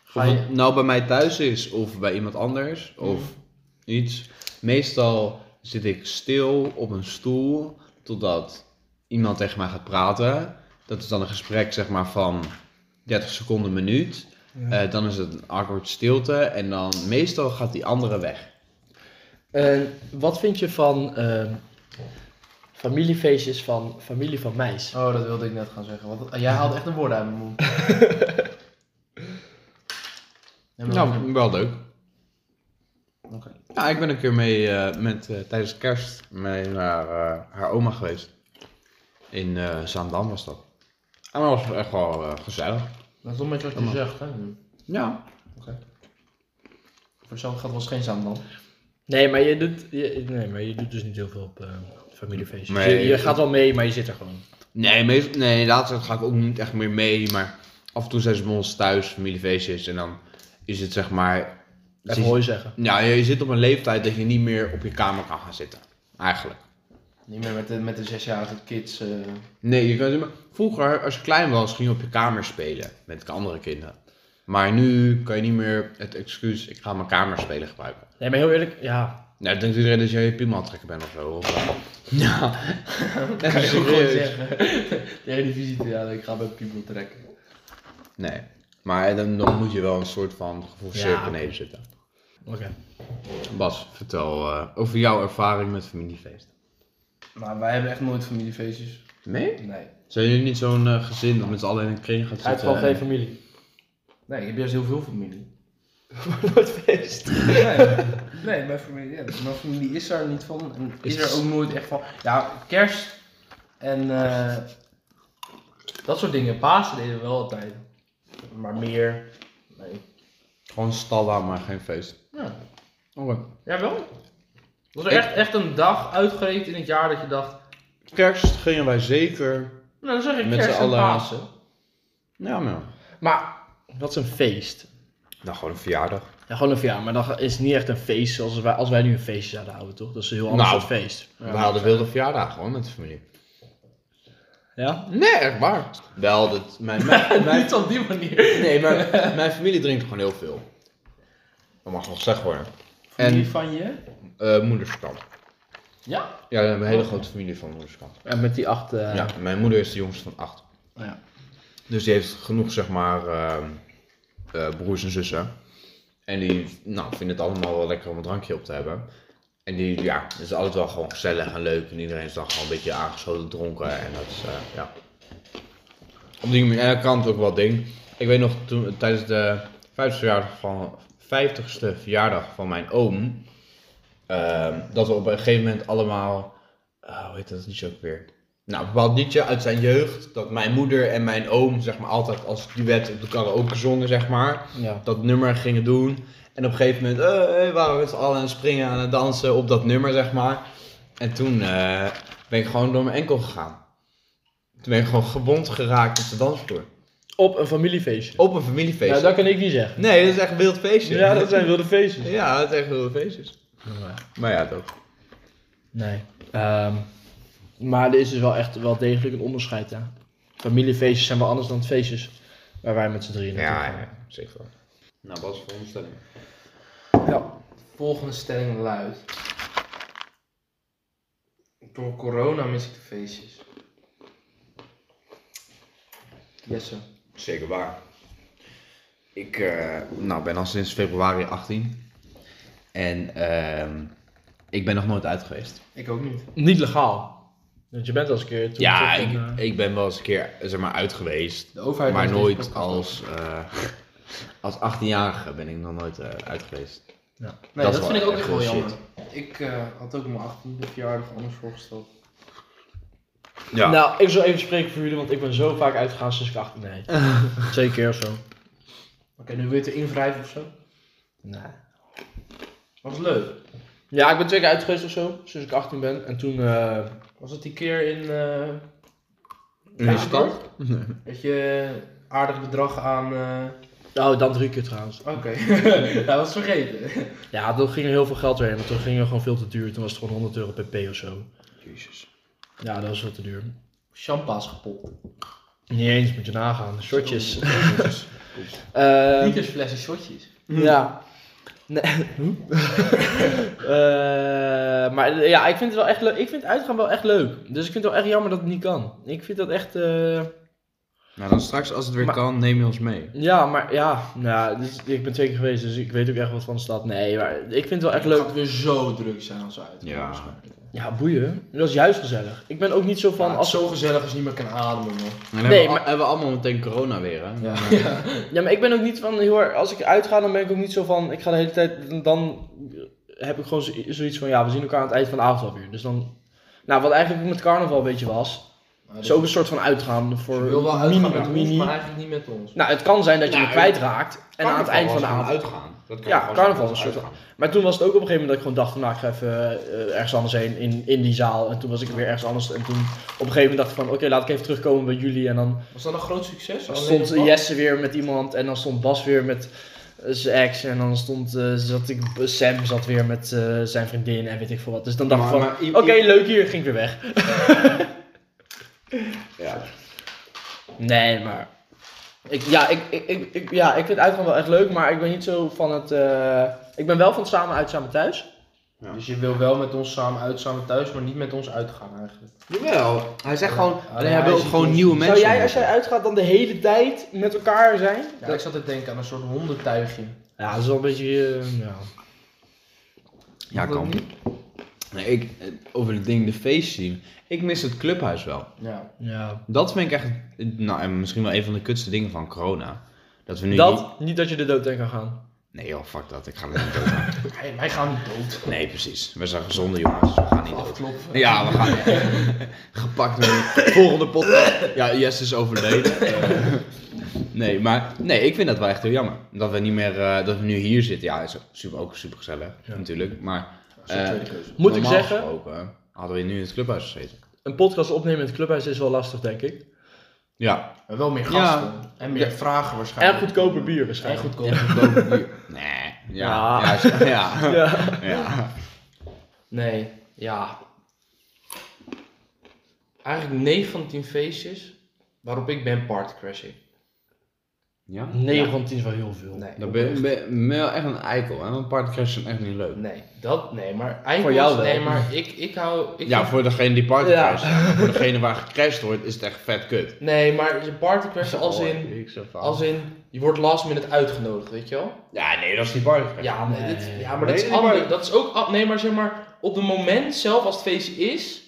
Ga Of je... het nou bij mij thuis is, of bij iemand anders, of Hmm. iets. Meestal zit ik stil op een stoel totdat iemand tegen mij gaat praten. Dat is dan een gesprek zeg maar van 30 seconden, een minuut. Ja. Eh, dan is het een awkward stilte en dan meestal gaat die andere weg. En Eh, wat vind je van ehm, familiefeestjes van familie van meis? Oh, dat wilde ik net gaan zeggen. Want jij haalt echt een woord uit mijn mond. Ja, maar- Nou, wel leuk. Oké. Ja, ik ben een keer mee eh, met, eh, tijdens kerst mee naar eh, haar oma geweest. In eh, Zaandam was dat. En dat was echt wel eh, gezellig. Dat is toch met wat je Allemaal. zegt, hè? nu. Ja, Voor hetzelfde gaat was geen zaam dan. Nee, maar je doet, je- nee, maar je doet dus niet heel veel op eh, familiefeestjes. Nee. je, je gaat wel mee, maar je zit er gewoon. Nee, meest, nee, laatst ga ik ook niet echt meer mee. Maar af en toe zijn ze bij ons thuis, familiefeestjes. En dan is het zeg maar... Even zit- hooi zeggen. ja, je zit op een leeftijd dat je niet meer op je kamer kan gaan zitten. Eigenlijk. Niet meer met de, met de zesjarige kids. eh. Nee, je kan, vroeger als je klein was ging je op je kamer spelen met andere kinderen. Maar nu kan je niet meer het excuus, ik ga mijn kamerspelen gebruiken. Nee, maar heel eerlijk, ja. Nou, denkt iedereen dat jij je piemel aan het trekken bent of zo? Of, ja. Dat kan je ook gewoon serieus. zeggen. De Eredivisie, ja, ik ga bij Piemel trekken. Nee. Maar dan, dan moet je wel een soort van geforceerd Ja. beneden zitten. Oké. Bas, vertel eh, over jouw ervaring met familiefeesten. Maar wij hebben echt nooit familiefeestjes. Nee? Nee. Zijn jullie niet zo'n eh, gezin dat met z'n allen in een kring gaat Hij heeft zitten? gewoon geen en- familie. Eh, Nee, ik heb juist heel veel familie. Nooit feest. Nee, nee mijn, familie, ja, mijn familie is er niet van. En is er ook nooit echt van. Ja, kerst en eh, dat soort dingen. Pasen deden we wel altijd. Maar meer. Nee. Gewoon stalda, maar geen feest. Ja. Oké. Jawel. Was er echt, echt een dag uitgerekend in het jaar dat je dacht. Kerst gingen wij zeker. Nou, dan zeg ik Met kerst z'n en allen- Pasen. Ja, nou. maar. Maar, dat is een feest. Nou, gewoon een verjaardag. Ja, gewoon een verjaardag, maar dat is niet echt een feest zoals wij, als wij nu een feestje zouden houden, toch? Dat is een heel ander Nou. soort feest. we hadden wilde verjaardag gewoon met de familie. Ja? Nee, echt waar. Wel, dat, mijn, mijn, mijn- Niet op die manier. nee, maar mijn familie drinkt gewoon heel veel. Dat mag nog gezegd worden. Familie En van je? eh moederskant. Ja. Ja, we hebben een hele grote familie van moederskant. En met die acht... eh, Ja, mijn moeder is de jongste van acht. Ja. Dus die heeft genoeg, zeg maar, ehm, eh, broers en zussen. En die nou, vinden het allemaal wel lekker om een drankje op te hebben. En die, ja, het is altijd wel gewoon gezellig en leuk. En iedereen is dan gewoon een beetje aangeschoten dronken. En dat is, eh, ja. Op die manier, en dat kan het ook wel ding. Ik weet nog, toen, tijdens de 50ste verjaardag van, 50ste verjaardag van mijn oom... ehm, dat we op een gegeven moment allemaal... eh, hoe heet dat liedje ook weer? Nou, een bepaald liedje uit zijn jeugd. Dat mijn moeder en mijn oom, zeg maar, altijd als duet op de karaoke zongen, zeg maar. Ja. Dat nummer gingen doen. En op een gegeven moment eh, eh, waren we met z'n allen aan het springen, aan het dansen op dat nummer, zeg maar. En toen eh, ben ik gewoon door mijn enkel gegaan. Toen ben ik gewoon gewond geraakt op de dansvloer. Op een familiefeestje. Op een familiefeest. Ja, dat kan ik niet zeggen. Nee, dat is echt een wild feestje. Ja, dat zijn wilde feestjes. Ja, dat is echt wilde feestjes. Maar ja, dat ook. Nee. Ehm, maar er is dus wel echt wel degelijk een onderscheid, ja. Familiefeestjes zijn wel anders dan feestjes waar wij met z'n drieën naartoe gaan. zeker. Nou, Bas, volgende stelling. Ja. Volgende stelling luidt. Door corona mis ik de feestjes. Jesse. Zeker waar. Ik eh, nou, ben al sinds februari 18. En ehm, ik ben nog nooit uit geweest. Ik ook niet. Niet legaal. Want je bent al eens een keer... toen Ja, toch ik, een, eh, ik ben wel eens een keer zeg maar, uit geweest. De overheid Maar heeft deze nooit podcast als, eh, als 18-jarige ben ik nog nooit eh, uit geweest. ook. Nee, dat dat, is wel vind ik ook echt echt wel heel jammer. Ik eh, had ook mijn 18e verjaardag anders voorgesteld. Ja. Nou, ik zal even spreken voor jullie, want ik ben zo vaak uitgegaan sinds ik 18 nee. Twee keer of zo. Oké, nu wil je het erin wrijven of zo. Nee. Was leuk. Ja, ik ben twee keer uit geweest of zo, sinds ik 18 ben. En toen, eh, Was het die keer in. eh, In de Ja. stad? dat je aardig bedrag aan. eh, oh, dan drie keer trouwens. Oké, dat was vergeten. Ja, toen ging er heel veel geld weer heen, want toen ging er gewoon veel te duur. Toen was het gewoon 100 euro pp of zo. Jezus. Ja, dat was veel te duur. Champa's gepopt. Niet eens, moet je nagaan. Shotjes. Uh, Eh, flessen shotjes. ja. Nee. Eh, maar eh, ja, ik vind het wel echt leuk. Ik vind uitgaan wel echt leuk. Dus ik vind het wel echt jammer dat het niet kan. Ik vind dat echt. eh, Nou, dan straks als het weer Maar- kan, neem je ons mee. Ja, maar ja, nou, dus, ik ben twee keer geweest, dus ik weet ook echt wat van de stad. Nee, maar ik vind het wel echt Het leuk. gaat weer zo druk zijn als we uitgaan. Ja. waarschijnlijk. Ja, boeien. Dat is juist gezellig. Ik ben ook niet zo Van van als als zo gezellig als je niet meer kan ademen, man. En Nee, hebben, we, al- maar- hebben we allemaal meteen corona weer, hè? Ja. Ja, maar ik ben ook niet van heel erg. Als ik uitga, dan ben ik ook niet zo van. Ik ga de hele tijd. Dan heb ik gewoon zo- zoiets van. Ja, we zien elkaar aan het eind van de avond alweer. Dus dan. Nou, wat eigenlijk ook met carnaval een beetje was. Maar Is ook een soort van uitgaan voor. Je Dus wil wel mini- uitgaan met mini. ons, maar eigenlijk niet met ons. Nou, het kan zijn dat je Nou, me kwijtraakt. En aan het eind van de Carnaval avond. was gewoon uitgaan. Dat kan Ja, je gewoon carnaval zeggen, was dat een Maar toen was het ook op een gegeven moment dat ik gewoon dacht van nou, ik ga even eh, ergens anders heen in, in die zaal. En toen was ik weer ergens anders. En toen op een gegeven moment dacht ik van oké, laat ik even terugkomen bij jullie. En dan Was dat een groot succes? Alleen stond op pad? Jesse weer met iemand. En dan stond Bas weer met eh, zijn ex. En dan stond eh, zat ik, Sam zat weer met eh, zijn vriendin en weet ik veel wat. Dus dan dacht ik van Maar- maar i- oké, leuk hier. Ging ik weer weg. Ja. Nee, maar Ik, ja, ik, ik, ik, ik- ja, ik vind uitgaan wel echt leuk, maar ik ben niet zo van het... eh, ik ben wel van het samen uit, samen thuis. Dus je wil wel met ons samen uit, samen thuis, maar niet met ons uitgaan eigenlijk. Jawel. Hij zegt Ja. gewoon, Ja, alleen hij hij wil ziet gewoon ons nieuwe niet. mensen. Zou jij, als jij uitgaat, dan de hele tijd met elkaar zijn? Ja, ik zat te denken aan een soort hondentuigje. Ja, dat is wel een beetje... eh, ja. Ja, Waarom kan. Nee, ik, eh, over het ding, de feestteam. Ik mis het clubhuis wel. Ja. ja. Dat vind ik echt, eh, nou, en misschien wel een van de kutste dingen van corona. Dat we nu niet- Dat, niet dat je de dood in kan gaan. Nee joh, fuck dat. Ik ga er niet dood. Hey, wij gaan niet dood. Nee, precies. We zijn gezonde jongens, we gaan niet dood. Afkloppen. Ja, we gaan gepakt door de volgende podcast. Ja, Jess is overleden. Eh, nee, maar nee, ik vind dat wel echt heel jammer. Dat we niet meer, eh, dat we nu hier zitten. Ja, is super, ook super gezellig, Ja. natuurlijk. Maar Dat is een Eh, tweede keuze. Moet ik normaal zeggen, gesproken hadden we nu in het clubhuis gezeten. een podcast opnemen in het clubhuis is wel lastig, denk ik. Ja. Maar wel meer Ja. gasten. En meer Ja. vragen waarschijnlijk. En goedkoper bier En waarschijnlijk. goedkoper Nee. Ja. Ja. Ja. is- ja. ja. Ja. Nee, ja. Eigenlijk 9 van 10 feestjes waarop ik ben partycrashing. Ja? 9 van 10 is wel heel veel. Nee, Dan ben je- ben je ben je wel echt een eikel, hè? Want partycrashes zijn echt niet leuk. nee, dat, nee, maar eikels, Voor jou wel. nee, maar ik, ik hou, ik Ja, vind- voor degene die partycrasht. Voor degene waar gecrashed wordt, is het echt vet kut. nee, maar je partycrashen als in, als in, je wordt last minute uitgenodigd, weet je wel? Ja, nee, dat is niet partycrash. Ja, maar, Nee. dit, ja, maar dat Nee, is maar- anders, dat is ook, a- nee, maar zeg maar, op het moment zelf als het feestje is,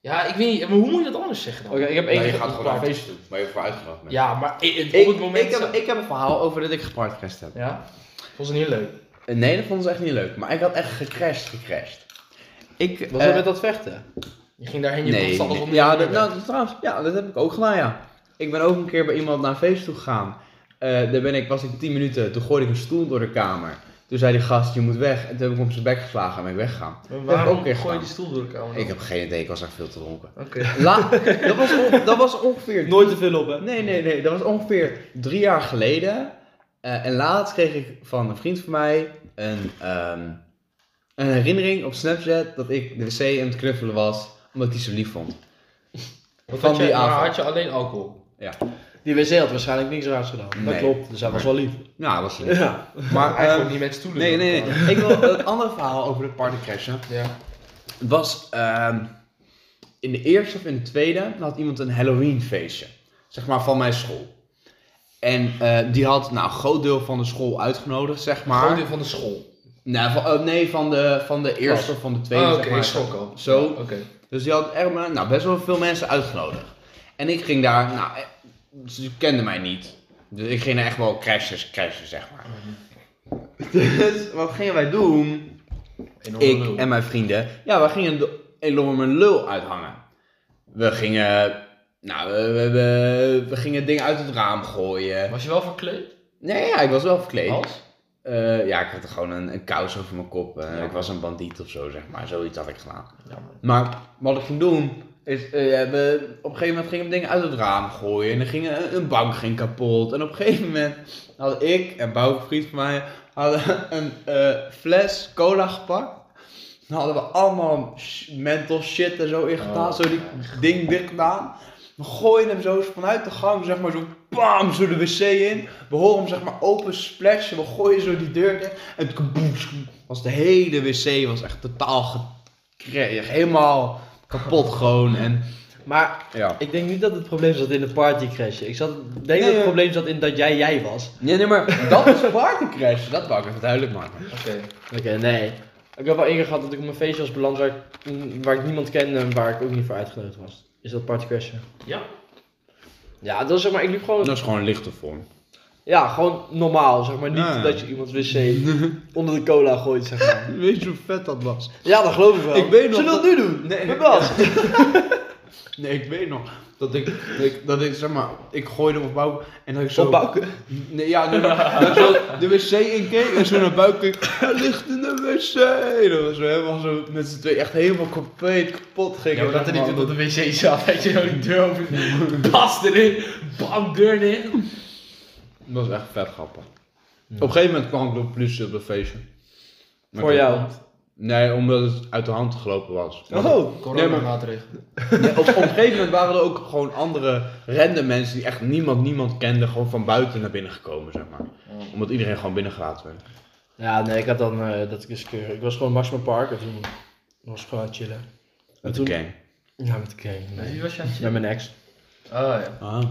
ja, ik weet niet, maar hoe moet je dat anders zeggen dan? Oké, ik heb Nee, één je keer- gaat gewoon naar een feestje toe, waar je voor uitgenodigd bent. Ja, maar i- i- Ik, op het moment ik, heb, zelf- ik heb een verhaal over dat ik gepartycrashed heb. Ja, vond ze niet leuk. Nee, dat vonden ze echt niet leuk. Maar ik had echt gecrashed, gecrashed. Ik, Was eh, dat met dat vechten? Je ging daarheen, je nee, nee, alles nee. onder Ja, je dat, benen. nou, dat- trouwens, ja, dat heb ik ook gedaan, ja. Ik ben ook een keer bij iemand naar een feest toe gegaan. Eh, daar ben ik, was ik 10 minuten, toen gooide ik een stoel door de kamer. Toen zei die gast, je moet weg. En toen heb ik hem op zijn bek geslagen en ben ik weggegaan. Maar Dat heb ik waarom ook echt gooi je gedaan. die stoel door de kamer? Ik heb geen idee, ik was echt veel te dronken. Oké. La, dat, was on- dat was ongeveer... Nooit te veel op, hè? Nee, nee, nee, dat was ongeveer drie jaar geleden. Eh, en laatst kreeg ik van een vriend van mij een, ehm, een herinnering op Snapchat dat ik de wc aan het knuffelen was, omdat hij ze lief vond. Wat Van had je, die maar avond. had je alleen alcohol? Die wc had waarschijnlijk niks raars gedaan. Dat Nee. klopt, dus hij was wel lief. Nou, dat was lief. Ja. Maar, Hij ehm, gooit niet met stoelen. nee, door nee, elkaar. nee. Ik wil het andere verhaal over de partycrash. hè. Ja. was ehm, in de eerste of in de tweede toen had iemand een Halloween feestje. Zeg maar van mijn school. En eh, die had nou een groot deel van de school uitgenodigd, zeg maar. Groot deel van de school. Nee, van, eh, nee, van de, van de eerste of van de tweede, Ah, Oké, zeg maar. ik schrok al. Zo. Oké. Dus die had er maar, nou, best wel veel mensen uitgenodigd. En ik ging daar, nou, eh, ze kenden mij niet. Dus ik ging er echt wel crashes, crashen, zeg maar. Dus wat gingen wij doen? Enorme Ik lul. en mijn vrienden. Ja, we gingen de enorme lul uithangen. We gingen, nou, we, we, we, we gingen dingen uit het raam gooien. Was je wel verkleed? Nee, ja, ik was wel verkleed. Als? Eh, ja, ik had er gewoon een, een kous over mijn kop. eh, Ja. Ik was een bandiet of zo, zeg maar. Zoiets had ik gedaan. Jammer. Maar wat ik ging doen, is eh, ja, we, op een gegeven moment gingen we dingen uit het raam gooien. En er ging een, een bank ging kapot. En op een gegeven moment had ik en Bouw, een vriend van mij, hadden een eh, fles cola gepakt. Dan hadden we allemaal sh- mental shit en zo in gedaan. Oh, zo die ding dicht gedaan. We gooien hem zo vanuit de gang, zeg maar zo bam, zo de wc in. We horen hem zeg maar open splashen. We gooien zo die deur dicht. En kaboes, was de hele wc was echt totaal gekreeg. Helemaal kapot gewoon. En Maar ja. ik denk niet dat het probleem zat in de partycrash. Ik zat, denk dat ja. het probleem zat in dat jij jij was. Nee, nee, maar dat is partycrash. Dat wou ik even duidelijk maken. Oké. Oké, nee. Ik heb wel één keer gehad dat ik op een feestje was beland waar ik, mm, waar ik niemand kende en waar ik ook niet voor uitgenodigd was. Is dat partycrashen? Ja. Ja, dat is zeg maar, ik liep gewoon, Dat is gewoon een lichte vorm. ja, gewoon normaal, zeg maar. Niet Ja, ja. dat je iemands wc onder de cola gooit, zeg maar. Weet je hoe vet dat was? Ja, dat geloof ik wel. Ik weet nog Zullen we dat- dat nu doen? Nee. Met Bas. Nee, ik weet nog dat ik, dat ik, dat ik zeg maar, ik gooide op Bouke en dat ik zo... Op Bouke. Nee, ja, nee, maar dat ik zo de wc inkeek en zo naar buiten keek. Hij ligt in de wc. Dat was zo helemaal zo met z'n twee echt helemaal compleet kapot gingen. Ja, maar dat er niet op de wc zat, dat je zo die deur open Pas erin, bam, deur neer. Dat was echt vet grappig. Op een gegeven moment kwam ik door de politie op dat feestje. Maar Voor ik- jou. Nee, omdat het uit de hand gelopen was. Oh, Coronamaatregelen. Nee, op, op een gegeven moment waren er ook gewoon andere random mensen die echt niemand, niemand kende, gewoon van buiten naar binnen gekomen, zeg maar. Ja. Omdat iedereen gewoon binnengelaten werd. Ja, nee, ik had dan eh, dat ik eens keur. Ik was gewoon in Maxima Park en toen was ik gewoon aan het chillen. Met de toen- gang. Ja, met de game. Dus Nee. wie was je aan het Met chillen? mijn ex. Oh ja. Ah.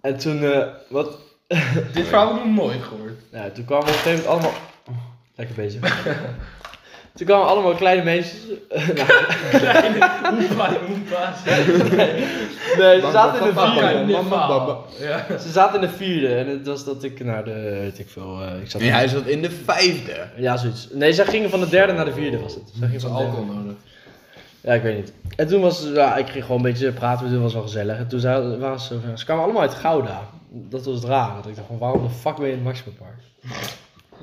En toen, eh, wat? Dit verhaal heb ik nog nooit gehoord. Nou, toen kwamen op een gegeven moment allemaal. Oh, lekker bezig. toen kwamen allemaal kleine mensen. Kleine oempa, oempa's. Nee, ze zaten in de Papa, vierde. papa, Mama. Ja. Ze zaten in de vierde en het was dat ik naar de, weet ik veel, eh, ik zat Nee, hij zat in de vijfde. Ja, zoiets. Nee, zij gingen van de derde naar de vierde was het. Zij Dat gingen is van de derde- alcohol nodig. Ja, ik weet niet. En toen was, ja, ik ging gewoon een beetje praten, toen was het wel gezellig. En toen zei- waren ze, ze kwamen allemaal uit Gouda. Dat was het rare. Dat ik dacht van, waarom de fuck ben je in het Maxima Park?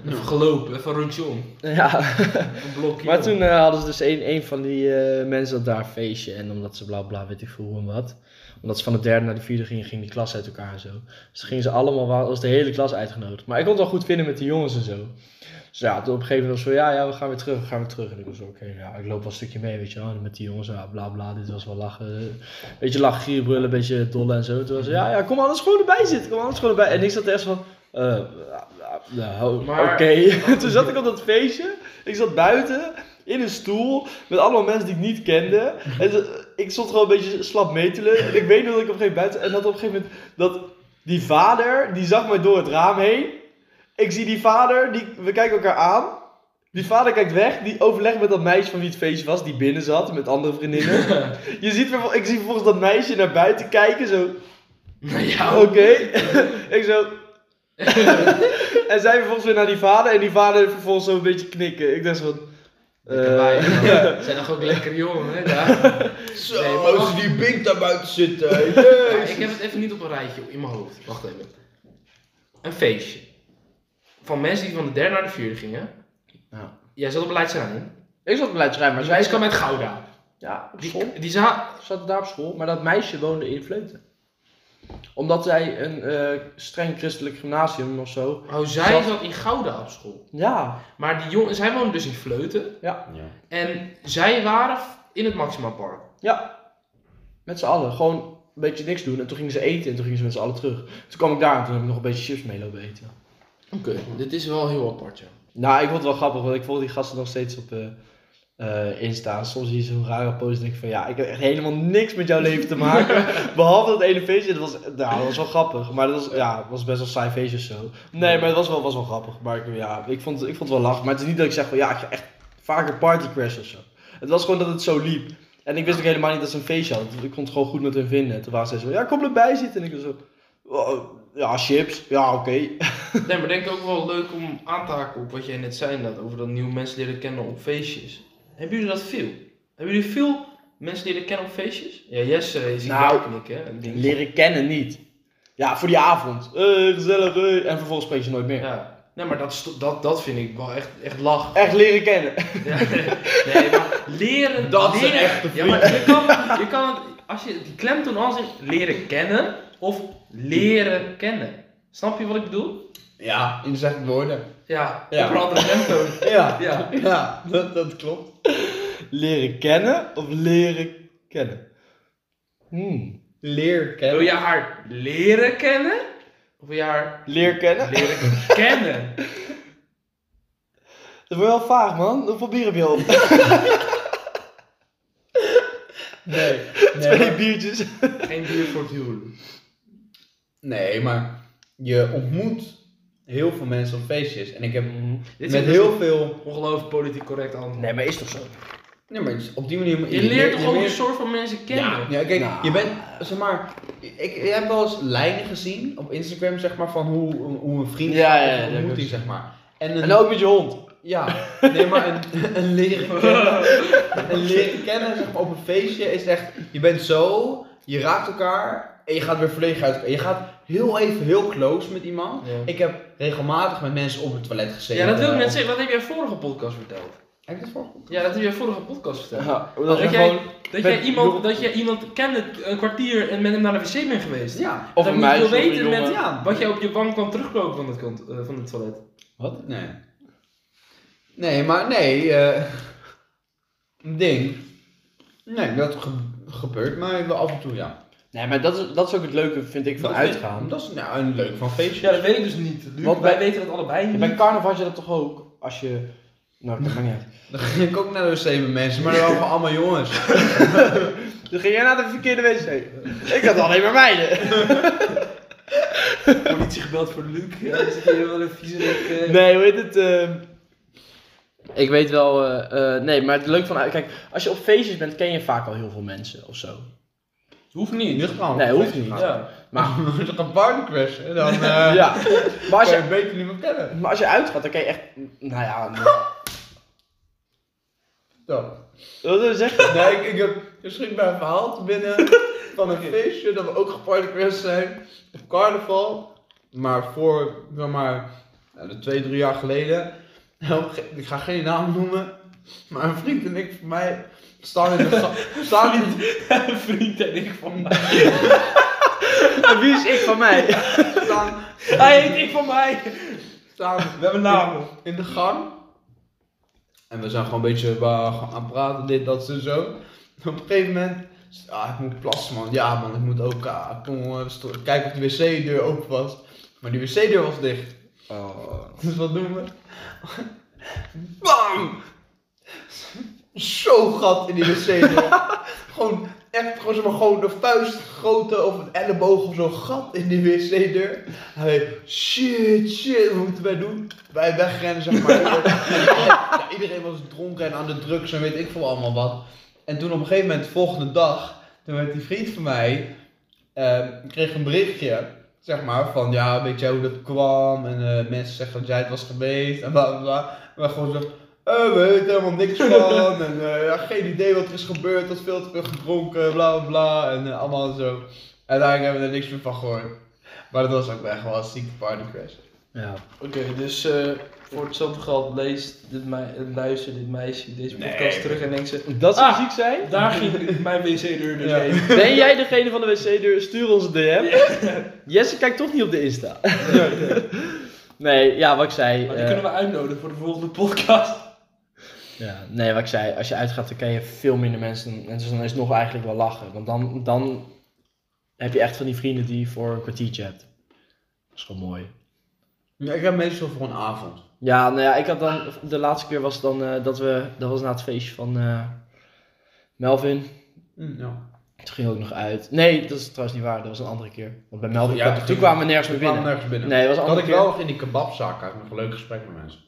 Even gelopen, even een rondje om. Ja, Een blokje maar om. toen eh, hadden ze dus een, een van die eh, mensen had daar een feestje. En omdat ze bla bla, weet ik veel hoe en wat. Omdat ze van de derde naar de vierde gingen, ging die klas uit elkaar en zo. Dus toen gingen ze allemaal, wa- was de hele klas uitgenodigd. Maar ik kon het wel goed vinden met die jongens en zo. Dus ja, toen op een gegeven moment was het van, ja, ja, we gaan weer terug, we gaan weer terug. En ik was zo, oké, ja, ik loop wel een stukje mee, weet je wel. En met die jongens, ja, bla bla, dit was wel lachen. Beetje lachen, gieren, brullen, beetje dolle en zo. Toen was ze, ja, ja, kom anders gewoon erbij zitten, kom anders gewoon erbij. En ik zat er echt van, eh, ja, ja, nou, Maar- oké. toen zat ik op dat feestje, ik zat buiten, in een stoel, met allemaal mensen die ik niet kende. En ze- ik stond gewoon een beetje slap metelen. En ik weet nog dat ik op een gegeven moment buiten, en dat op een gegeven moment, dat die vader, die zag mij door het raam heen. Ik zie die vader, die, we kijken elkaar aan. Die vader kijkt weg, die overlegt met dat meisje van wie het feestje was, die binnen zat met andere vriendinnen. Je ziet, vervol- ik zie vervolgens dat meisje naar buiten kijken, zo, Naar jou. oké. ik zo. en zij vervolgens weer naar die vader, en die vader vervolgens zo een beetje knikken. Ik dacht zo van. Lekker eh, waaien, man. Zijn nog ook lekker jongen, hè? daar. Zo, Nee, maar- als die pink daar buiten zitten. Ja, Jezus. ik heb het even niet op een rijtje in mijn hoofd. Wacht even. Een feestje. Van mensen die van de derde naar de vierde gingen. Ja. Jij zat op Leidschaan. ik zat op schrijven, maar Maar zij zij is kwam uit Gouda. Ja, op school. Die, die za- Zat daar op school, maar dat meisje woonde in Vleuten. Omdat zij een eh, streng christelijk gymnasium of zo. oh, zij Zat- zat in Gouda op school. Ja, Maar die jongen, zij woonde dus in Vleuten. Ja. En zij waren f- in het Maxima Park. ja. Met z'n allen. Gewoon een beetje niks doen. En toen gingen ze eten en toen gingen ze met z'n allen terug. Toen kwam ik daar en toen heb ik nog een beetje chips mee lopen eten. Oké, dit is wel heel apart, ja. Nou, ik vond het wel grappig, want ik volg die gasten nog steeds op eh eh, Insta. En Soms zie je zo'n rare post en denk ik van ja, ik heb echt helemaal niks met jouw leven te maken. Behalve dat ene feestje, dat was, nou, dat was wel grappig. Maar dat was, ja, het was best wel saai feestje of zo. Nee, maar het was wel, was wel grappig. Maar ik, ja, ik, vond, ik vond het wel lachen. Maar het is niet dat ik zeg van ja, ik ga echt vaker party crash of zo. Het was gewoon dat het zo liep. En ik wist ook helemaal niet dat ze een feestje hadden. Ik kon het gewoon goed met hun vinden. En toen waren ze zo, ja, kom erbij zitten. En ik was zo, "Oh, ja, chips. Ja, oké. Nee, maar denk ook wel leuk om aan te haken op wat jij net zei inderdaad, over dat nieuwe mensen leren kennen op feestjes. Hebben jullie dat veel? Hebben jullie veel mensen leren kennen op feestjes? Ja, Jesse, je ziet Nou, jou knikken. hè, en dingen. Leren kennen niet. Ja, voor die avond. Eh, gezellig. eh. En vervolgens spreek je nooit meer. Ja. Nee, maar dat, is to- dat, dat vind ik wel echt, echt lach. Echt leren kennen. Ja, nee, maar leren... Dat is een leren, echte Ja, maar je kan, je kan het, als je die klemtoon aan zegt, leren kennen of leren kennen. Snap je wat ik bedoel? Ja, in zes woorden. Ja, Ja. op een andere klemtoon. Ja. Ja. Ja, dat, dat klopt. Leren kennen of leren kennen? Hmm. Leer Wil kennen. je haar leren kennen? Of wil je haar Leer kennen? leren kennen? Dat wordt wel vaag, man. Hoeveel bier heb je op? Nee. Nee, Twee maar, biertjes. Geen bier voor het huwelijk. nee, maar je ontmoet heel veel mensen op feestjes. En ik heb Dit is met een heel veel... ongelooflijk politiek correct antwoord. maar is toch zo? Nee, maar op die manier... Je leert toch je ook leert- een soort van mensen kennen? Ja, ja kijk, Nou. je bent, zeg maar, ik, ik heb wel eens lijnen gezien op Instagram, zeg maar, van hoe, hoe een vriend Ja, ja, of ja, een dat ontmoeting, is- zeg maar. En, een, En ook met je hond. ja, nee, maar een, een leren kennen, een leren kennen, zeg maar, op een feestje is echt, je bent zo, je raakt elkaar en je gaat weer volledig uit elkaar. Je gaat heel even heel close met iemand. Ja. Ik heb regelmatig met mensen op het toilet gezeten. Ja, dat wil ik net Of- zeggen. Dat heb jij vorige podcast verteld. Heb ik dat voor? Ja, dat heb jij vorige podcast verteld. Ja, Dat, dat is jij, gewoon... dat, met jij iemand, jong- dat jij iemand kende een kwartier en met hem naar de wc bent geweest. Ja. Of dat een moet je meisje of wel een weten jongen. met Ja. wat jij op je bank kwam teruglopen van het, kant, eh, van het toilet. Nee. Nee, maar nee. eh, Een ding. Nee, dat ge- gebeurt maar wel af en toe, ja. Nee, maar dat is, dat is ook het leuke, vind ik, van Dat uitgaan. vind- Dat is nou een leuk van feestje. Ja, dat weet ik dus niet. Luc, Want wij bij- weten dat allebei Ja, niet. bij carnaval had je dat toch ook? Als je... Nou, dat maakt niet uit. Dan ging ik ook naar de wc met mensen, maar dan waren we allemaal jongens. Toen ging jij naar de verkeerde wc. Ik had alleen maar meiden. politie gebeld voor Luc. Ja, dat is hier wel een vieze eh. Luc. Nee, hoe heet het? ehm, Ik weet wel... eh, eh, nee, maar het leuke van... Kijk, als je op feestjes bent, ken je vaak al heel veel mensen of zo. Hoeft niet. Ligt gewoon. Nee, hoeft niet. Ja. Maar, Als je een party crash, dan eh ja. Maar als kan je, je beter niet meer kennen. maar als je uitgaat, dan kan je echt... Nou ja... nee. Zo. Wat wil je zeggen? Nee, ik, ik heb misschien bij een verhaal te binnen van een feestje dat we ook gepartycrashed zijn. Op carnaval. Maar voor, zeg maar, nou, de twee, drie jaar geleden. Nou, Ik ga geen naam noemen. Maar een vriend en ik van mij staan in de... ga- staan in Een vriend en ik van mij. Wie is ik van mij? staan, Hij heet ik van mij. staan We hebben namen. in de gang. En we zijn gewoon een beetje eh, gewoon aan het praten, dit, dat, zo, zo. Op een gegeven moment, ah, ik moet plassen man, ja man, ik moet ook, ah, kom, eh, sto- kijk of de wc-deur open was. Maar die wc-deur was dicht. Dus wat doen we? Bam! Zo gat in die wc-deur. gewoon echt, gewoon, zeg maar, gewoon de vuist grote of een elleboog of zo'n gat in die wc-deur. Hij, shit, shit, wat moeten wij doen? Wij wegrennen, zeg maar. Ja, iedereen was dronken en aan de drugs en weet ik veel allemaal wat. En toen op een gegeven moment, de volgende dag, toen werd die vriend van mij, eh, kreeg een berichtje, zeg maar, van ja, weet jij hoe dat kwam? En eh, mensen zeggen dat jij het was geweest en bla bla bla. En wij gewoon zo, eh, we weten helemaal niks van. En eh, ja, geen idee wat er is gebeurd, dat veel te veel gedronken, bla bla bla. En eh, allemaal zo. En daar hebben we er niks meer van gehoord. Maar dat was ook echt wel een zieke partycrash. Ja. Oké, dus eh, voor hetzelfde geld leest dit mei- eh, luistert dit meisje deze Nee. podcast terug en denkt ze... Dat ze Ah. ziek zijn? Daar ging mijn wc-deur dus Ja. heen. Ben jij degene van de wc-deur? Stuur ons een DM. Jesse kijkt toch niet op de Insta. Nee, ja, wat ik zei. Maar eh, die kunnen we uitnodigen voor de volgende podcast. ja, nee, wat ik zei. Als je uitgaat, dan ken je veel minder mensen. En dus dan is het nog eigenlijk wel lachen. Want dan, dan heb je echt van die vrienden die je voor een kwartiertje hebt. Dat is gewoon mooi. Ja, ik heb meestal voor een avond. Ja, nou ja, ik had dan, de laatste keer was dan eh, dat we, dat was na het feestje van eh, Melvin. Mm, ja. Toen ging ook nog uit. Nee, dat is trouwens niet waar. Dat was een andere keer. Want bij Melvin, Ja, kwam- dat toen ging- kwamen we nergens meer Ik kwam binnen. nergens binnen. Nee, dat was een dat had andere ik keer. wel in die kebabzaak uit een leuk gesprek met mensen.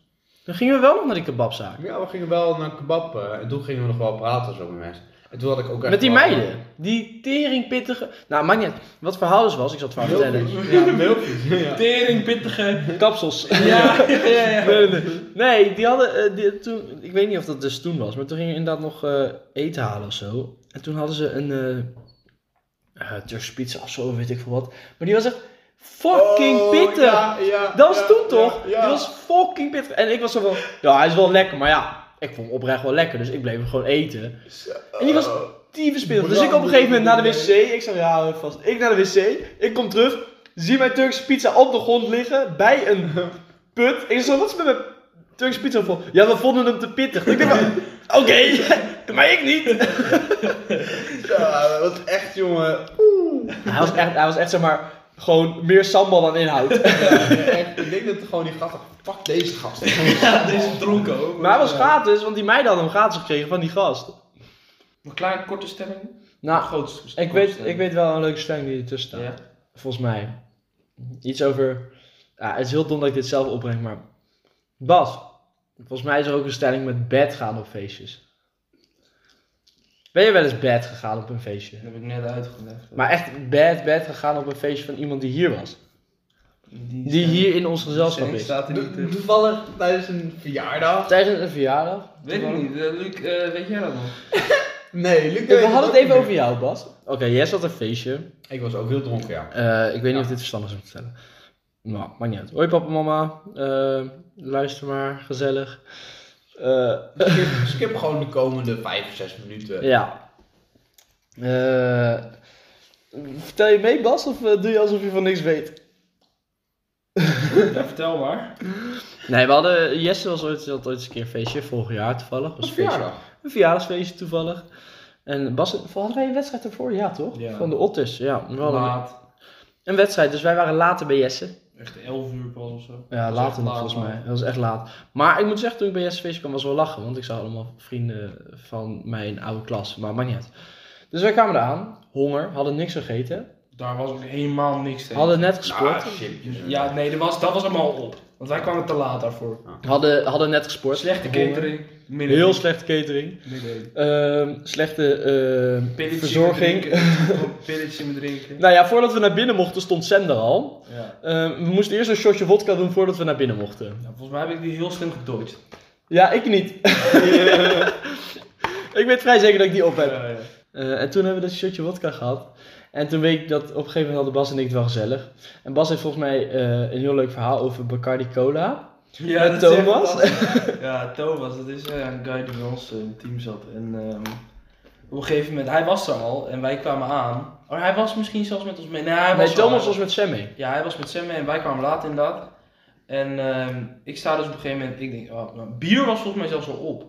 Dan gingen we wel nog naar die kebabzaak. Ja, we gingen wel naar kebab eh, en toen gingen we nog wel praten zo met mensen. En toen had ik ook echt Met die wel- eh, meiden. Die teringpittige... Nou, maakt niet uit. Wat het verhaal dus was, ik zal het verhaal Heel vertellen. vies. Ja, heel vies. Ja. Tering, pittige. Kapsels. Ja, ja, ja. ja. Nee, nee, nee. Nee, die hadden eh, die, toen... Ik weet niet of dat dus toen was, maar toen gingen we inderdaad nog eh, eten halen of zo. En toen hadden ze een... eh eh, Turkse pizza of zo, weet ik veel wat. Maar die was echt fucking Oh, pittig. ja, ja, Dat was ja, toen toch? Ja, ja. Die was fucking pittig. En ik was zo van, ja, hij is wel lekker, maar ja, ik vond hem oprecht wel lekker, dus ik bleef hem gewoon eten. En die was Oh, tyfus pittig. Dus ik op een gegeven moment naar de wc, ik zeg, ja, vast. Ik naar de wc, ik kom terug, zie mijn Turkse pizza op de grond liggen, bij een put. Ik zeg, zo, wat is met mijn Turkse pizza vol? Ja, we vonden hem te pittig. Ik denk, maar, oké, maar ik niet. Ja, dat was echt jongen. Hij was echt, hij was echt, zeg maar, gewoon meer sambal dan inhoud. Ja, echt. Ik denk dat gewoon die gasten, fuck deze gasten. Ja, deze dronken ook. Maar hij was gratis, want die meiden hadden hem gratis gekregen van die gast. Een kleine korte stemming. Nou, grootste. Ik weet, ik weet wel een leuke stelling die ertussen staat. Ja. Volgens mij. Iets over. Ja, het is heel dom dat ik dit zelf opbreng, maar. Bas, volgens mij is er ook een stelling met bed gaan op feestjes. Ben je wel eens bed gegaan op een feestje? Dat heb ik net uitgelegd. Maar echt bed, bed gegaan op een feestje van iemand die hier was. Die hier in ons gezelschap is. Staat er niet To- in. Toevallig tijdens een verjaardag. Tijdens een verjaardag. Weet ik niet. eh, Luc, eh, weet jij dat nog? Nee, Luc. We hadden het even over jou, Bas. Oké, Jess had een feestje. Ik was ook heel dronken, ja. Eh, ik weet Ja. niet of dit verstandig is om te vertellen. Nou, maakt niet uit. Hoi papa, mama. Eh, luister maar, gezellig. Eh, Skip, skip gewoon de komende 5, 6 minuten. ja. Eh, vertel je mee, Bas, of eh, doe je alsof je van niks weet? Ja, vertel maar. Nee, we hadden, Jesse was ooit, had ooit eens een keer een feestje, vorig jaar toevallig. Was een feestje, verjaardag. een verjaardagsfeestje toevallig. En Bas, hadden wij een wedstrijd ervoor? Ja, toch? Ja. Van de Otters, ja. We hadden Laat. een wedstrijd, dus wij waren later bij Jesse. Echt 11 uur pas of zo. Ja, Dat is later echt nog laat, volgens man. mij. Dat was echt laat. Maar ik moet zeggen, toen ik bij Jesse Feestje kwam, was wel lachen. Want ik zag allemaal vrienden van mijn oude klas. Maar maakt niet uit. Dus wij kwamen eraan. Honger. Hadden niks gegeten. Daar was ook helemaal niks tegen. Hadden net gesport. chipjes. Ja, nee, dat was, dat was allemaal op. Want wij kwamen te laat daarvoor. Hadden, hadden net gesport. Slechte Honger. catering. midden- Heel slechte catering. midden- Ehm, slechte ehm, Pilletje verzorging. met drinken. Pilletje met drinken. Nou ja, voordat we naar binnen mochten stond Sam er al. Ja. Ehm, we moesten eerst een shotje vodka doen voordat we naar binnen mochten. Nou, volgens mij heb ik die heel slim gedodged. Ja, ik niet. ik weet vrij zeker dat ik die op heb. Ja, ja. Eh, en toen hebben we dat shotje wodka gehad. En toen weet ik dat op een gegeven moment hadden Bas en ik het wel gezellig. En Bas heeft volgens mij eh, een heel leuk verhaal over Bacardi Cola. Ja, Met dat is echt Thomas? fantastisch. ja, Thomas, dat is eh, een guy die bij ons eh, in het team zat. En ehm, op een gegeven moment, hij was er al en wij kwamen aan. Oh, hij was misschien zelfs met ons mee. Nee, hij was nee, er Thomas al. was met Sam mee. Ja, hij was met Sam mee en wij kwamen laat inderdaad. En ehm, ik sta dus op een gegeven moment, ik denk, oh, nou, bier was volgens mij zelfs al op.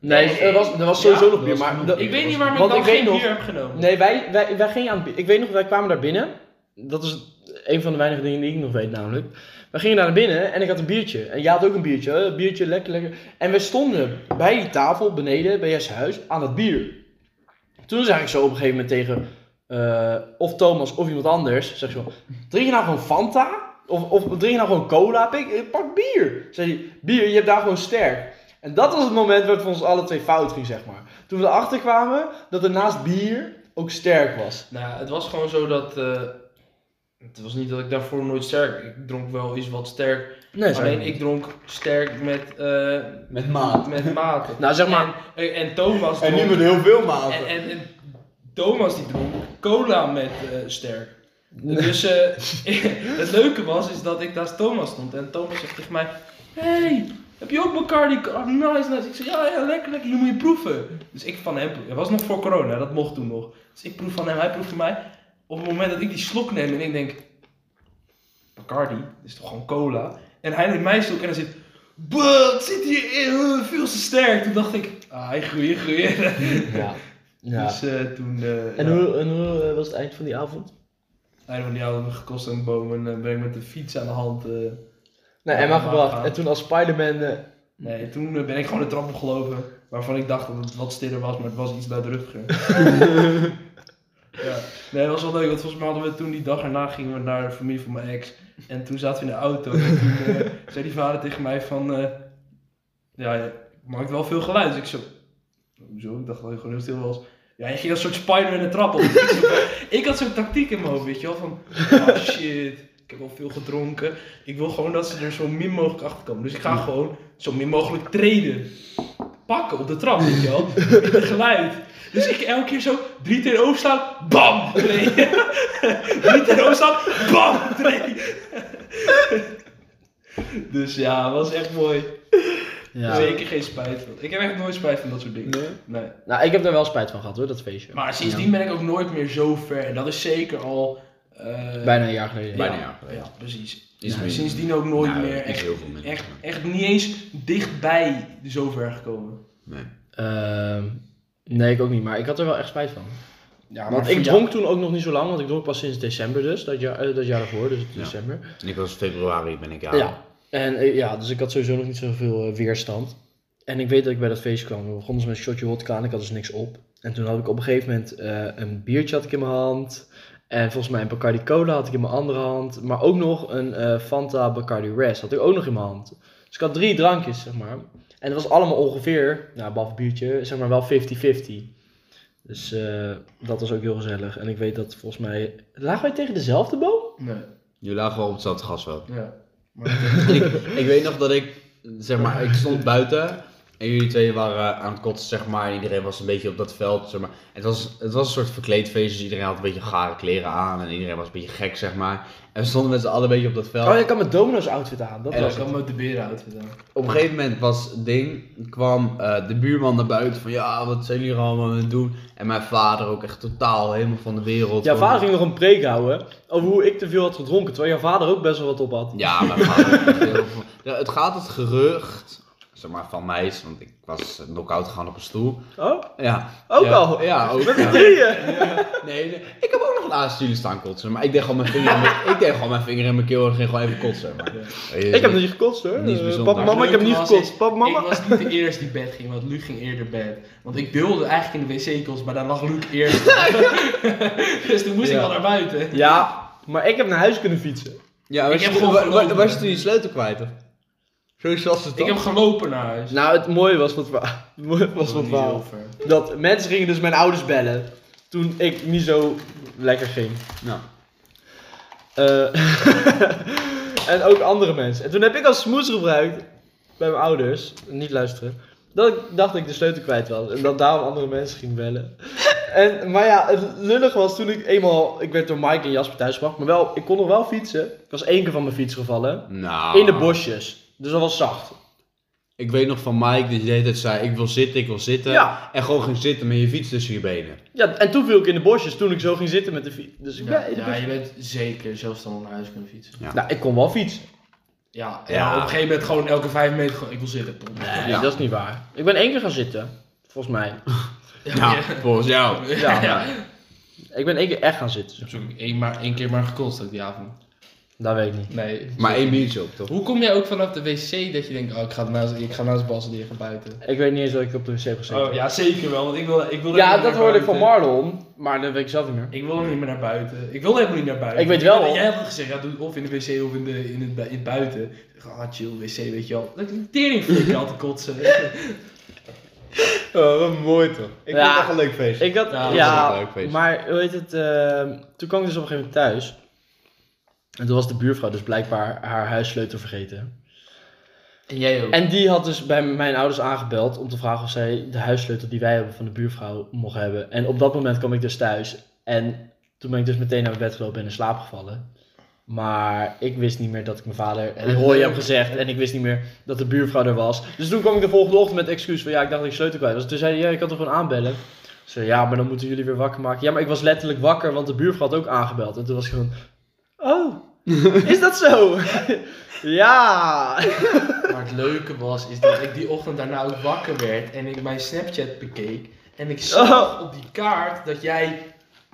Nee, Nee. Er, was, er was sowieso Ja, nog er bier. was Maar dat- ik weet niet waarom ik Want dan ik weet geen nog- bier heb genomen. Nee, wij, wij, wij gingen aan het bi- Ik weet nog, wij kwamen daar binnen. Dat is een van de weinige dingen die ik nog weet namelijk. Wij gingen naar binnen en ik had een biertje. En jij had ook een biertje. hè? Een biertje, lekker, lekker. En we stonden bij die tafel beneden, bij Jesse huis, aan het bier. Toen zei ik zo op een gegeven moment tegen eh, of Thomas of iemand anders. Zeg ik zo, drink je nou gewoon Fanta? Of, of drink je nou gewoon cola? Pik, eh, pak bier. Zei hij, bier, je hebt daar gewoon sterk. En dat was het moment waarop het voor ons alle twee fout ging, zeg maar. Toen we erachter kwamen dat er naast bier ook sterk was. Nou, het was gewoon zo dat, eh, het was niet dat ik daarvoor nooit sterk, ik dronk wel iets wat sterk. Nee, Alleen ik dronk sterk met, eh, Met maat. met maten. Nou, zeg maar, En, en Thomas En nu dronk- met heel veel En, maten. en, en Thomas die dronk cola met eh, sterk. Dus eh, het leuke was is dat ik naast Thomas stond en Thomas zegt tegen mij: Hey, heb je ook Bacardi? Co- Oh, nice, nice. Ik zeg: Ja, ja, lekker, lekker, je moet je proeven. Dus ik van hem, het was nog voor corona, dat mocht toen nog. Dus ik proef van hem, hij proeft van mij. Op het moment dat ik die slok neem en ik denk: Bacardi, dit is toch gewoon cola? En hij neemt mijn slok en hij zit. "Bah, het zit hier in, eh, veel te sterk. Toen dacht ik, ah, hij groeien, groeien. ja. ja. Dus eh, toen. eh, En ja, hoe, en hoe eh, was het eind van die avond? Hij van die hadden we gekost aan de boom en eh, ben ik met de fiets aan de hand. eh, Naar Ja, Emma maar gebracht. gaan. En toen als Spider-Man... eh, nee, toen eh, ben ik gewoon de trap opgelopen. Waarvan ik dacht dat het wat stiller was, maar het was iets luidruchtiger. ja. Nee, dat was wel leuk, want volgens mij hadden we toen die dag erna gingen we naar de familie van mijn ex. En toen zaten we in de auto. En toen eh, zei die vader tegen mij van. eh, ja, je maakt wel veel geluid. Dus ik zo. Hoezo? Ik dacht dat hij gewoon heel stil was. Ja, je ging als een soort Spider-Man de trap op. ik, zo- ik had zo'n tactiek in mijn hoofd, weet je wel. Van, oh shit, ik heb al veel gedronken. Ik wil gewoon dat ze er zo min mogelijk achter komen. Dus ik ga gewoon zo min mogelijk treden. Pakken op de trap, weet je wel. Met het geluid. Dus ik elke keer zo drie treden overslaan, bam, treden. drie treden overslaan, bam, treden. dus ja, het was echt mooi. Zeker geen spijt van. Ik heb echt nooit spijt van dat soort dingen. Nee? Nou, ik heb daar wel spijt van gehad hoor, dat feestje. Maar sindsdien ben ik ook nooit meer zo ver. En dat is zeker al... eh, Bijna een jaar geleden. Bijna ja. Ja, precies. Iets Ja, meer. sindsdien ook nooit Nou, meer niet echt, heel veel minder. echt, echt niet eens dichtbij zo ver gekomen. Ehm, nee, ik ook niet. Maar ik had er wel echt spijt van. Ja, want ik dronk toen ook nog niet zo lang. Want ik dronk pas sinds december dus. Dat jaar, eh, dat jaar ervoor, dus Ja. december. Ik was februari ben ik aan. Ja. En eh, ja, dus ik had sowieso nog niet zoveel eh, weerstand. En ik weet dat ik bij dat feestje kwam. We begonnen dus met een shotje wodka en ik had dus niks op. En toen had ik op een gegeven moment eh, een biertje had ik in mijn hand. En volgens mij een Bacardi Cola had ik in mijn andere hand. Maar ook nog een eh, Fanta Bacardi Res had ik ook nog in mijn hand. Dus ik had drie drankjes, zeg maar. En dat was allemaal ongeveer, nou, behalve biertje, zeg maar wel 50-50. Dus eh, dat was ook heel gezellig. En ik weet dat volgens mij... Lagen wij tegen dezelfde boom? Nee, Je lagen wel op hetzelfde gasveld. ja. ik, ik weet nog dat ik, zeg maar, ik stond buiten En jullie twee waren eh, aan het kotsen, zeg maar. En iedereen was een beetje op dat veld, zeg maar. Het was, het was een soort verkleedfeest, dus iedereen had een beetje gare kleren aan. En iedereen was een beetje gek, zeg maar. En we stonden met z'n allen een beetje op dat veld. Oh, je kan mijn Domino's outfit aan. Dat En was Ik had me de beren outfit aan. Op een gegeven moment was het ding, kwam eh, de buurman naar buiten van ja, wat zijn jullie allemaal aan het doen? En mijn vader ook echt totaal helemaal van de wereld. Jouw Van- vader ging nog een preek houden over hoe ik te veel had gedronken, terwijl jouw vader ook best wel wat op had. Ja, mijn vader. echt heel veel- ja, het gaat het gerucht, zeg maar van mij, is, want ik was knock-out gegaan op een stoel. Oh, Ja, ook ja, al. Ja, ook. Met ja. z'n drieën. Nee, nee, ik heb ook nog naast jullie staan kotsen, maar ik deed gewoon mijn vinger, in mijn- ik deed gewoon mijn vinger in mijn keel en ging gewoon even kotsen. Maar, Ik heb niet gekotst hoor. Niets Eh, bijzonders. Papa, mama, ik heb niet Leuk was gekotst. Papa, mama. Ik was niet de eerste die bed ging, want Luc ging eerder bed. Want ik wilde eigenlijk in de wc-kels, maar daar lag Luc eerst. dus toen moest Ja. ik al naar buiten. Ja, maar ik heb naar huis kunnen fietsen. Ja, Ik was, heb je, gewoon wa- wa- gelopen. was je toen je sleutel kwijt? Of? Zo was Ik het toch? heb gelopen naar huis. Nou, het mooie was wat wa- het mooie was wat niet waar. heel ver. Dat mensen gingen dus mijn ouders bellen toen ik niet zo lekker ging. Nou. Eh, en ook andere mensen. En toen heb ik als smoes gebruikt bij mijn ouders, niet luisteren, dat ik dacht dat ik de sleutel kwijt was. En dat daarom andere mensen ging bellen. En, maar ja, het lullig was toen ik eenmaal, ik werd door Mike en Jasper thuis gebracht, maar wel, ik kon nog wel fietsen. Ik was één keer van mijn fiets gevallen. Nou. In de bosjes. Dus dat was zacht. Ik weet nog van Mike die de hele tijd zei: Ik wil zitten, ik wil zitten. Ja. En gewoon ging zitten met je fiets tussen je benen. Ja, en toen viel ik in de bosjes toen ik zo ging zitten met de fiets. Dus ik Ja, ben in de ja, bosjes. je bent zeker zelfstandig naar huis kunnen fietsen. Nou, ik kon wel fietsen. Ja, Ja. ja. op een gegeven moment gewoon elke vijf meter gewoon, ik wil zitten. Pom. Nee, Ja. dat is niet waar. Ik ben één keer gaan zitten. Volgens mij. Ja, Nou, ja. volgens jou. Ja. Ik ben één keer echt gaan zitten. Zo, één, maar, één keer maar gekost ook die avond. Dat weet ik niet. Nee. Maar één biertje ook toch? Hoe kom jij ook vanaf de wc dat je denkt, oh, ik ga naast, ik ga naast Bas liggen buiten? Ik weet niet eens dat ik op de wc heb gezeten. Oh, ja, zeker wel, want ik wil, ik wil ja, dat hoorde ik van Marlon. Maar dat weet ik zelf niet meer. Ik wil niet meer naar buiten. Ik wil helemaal niet naar buiten. Ik weet wel. Jij- Jij had het gezegd, ja, doe het of in de wc of in, de, in, het, bu- in het buiten. Ik dacht, ah, chill, wc, weet je wel. Dat ik een tering voor je had te kotsen. weet je. Oh, wat mooi toch? Ik Ja. echt een leuk feest. Ik had, Ja, ja, dat was een leuk feest. maar hoe heet het, ehm, toen kwam ik dus op een gegeven moment thuis. En toen was de buurvrouw dus blijkbaar haar huissleutel vergeten. En jij ook. En die had dus bij mijn ouders aangebeld om te vragen of zij de huissleutel die wij hebben van de buurvrouw mocht hebben. En op dat moment kwam ik dus thuis. En toen ben ik dus meteen naar mijn bed gelopen en in slaap gevallen. Maar ik wist niet meer dat ik mijn vader en Roy heb gezegd. En ik wist niet meer dat de buurvrouw er was. Dus toen kwam ik de volgende ochtend met excuus van ja, ik dacht dat ik sleutel kwijt was. Toen zei hij, ja, je kan toch gewoon aanbellen? Ik zei, ja, maar dan moeten jullie weer wakker maken. Ja, maar ik was letterlijk wakker, want de buurvrouw had ook aangebeld. En toen was ik gewoon, oh, is dat zo? ja. Maar het leuke was, is dat ik die ochtend daarna ook wakker werd en ik mijn Snapchat bekeek. En ik Oh. zag op die kaart dat jij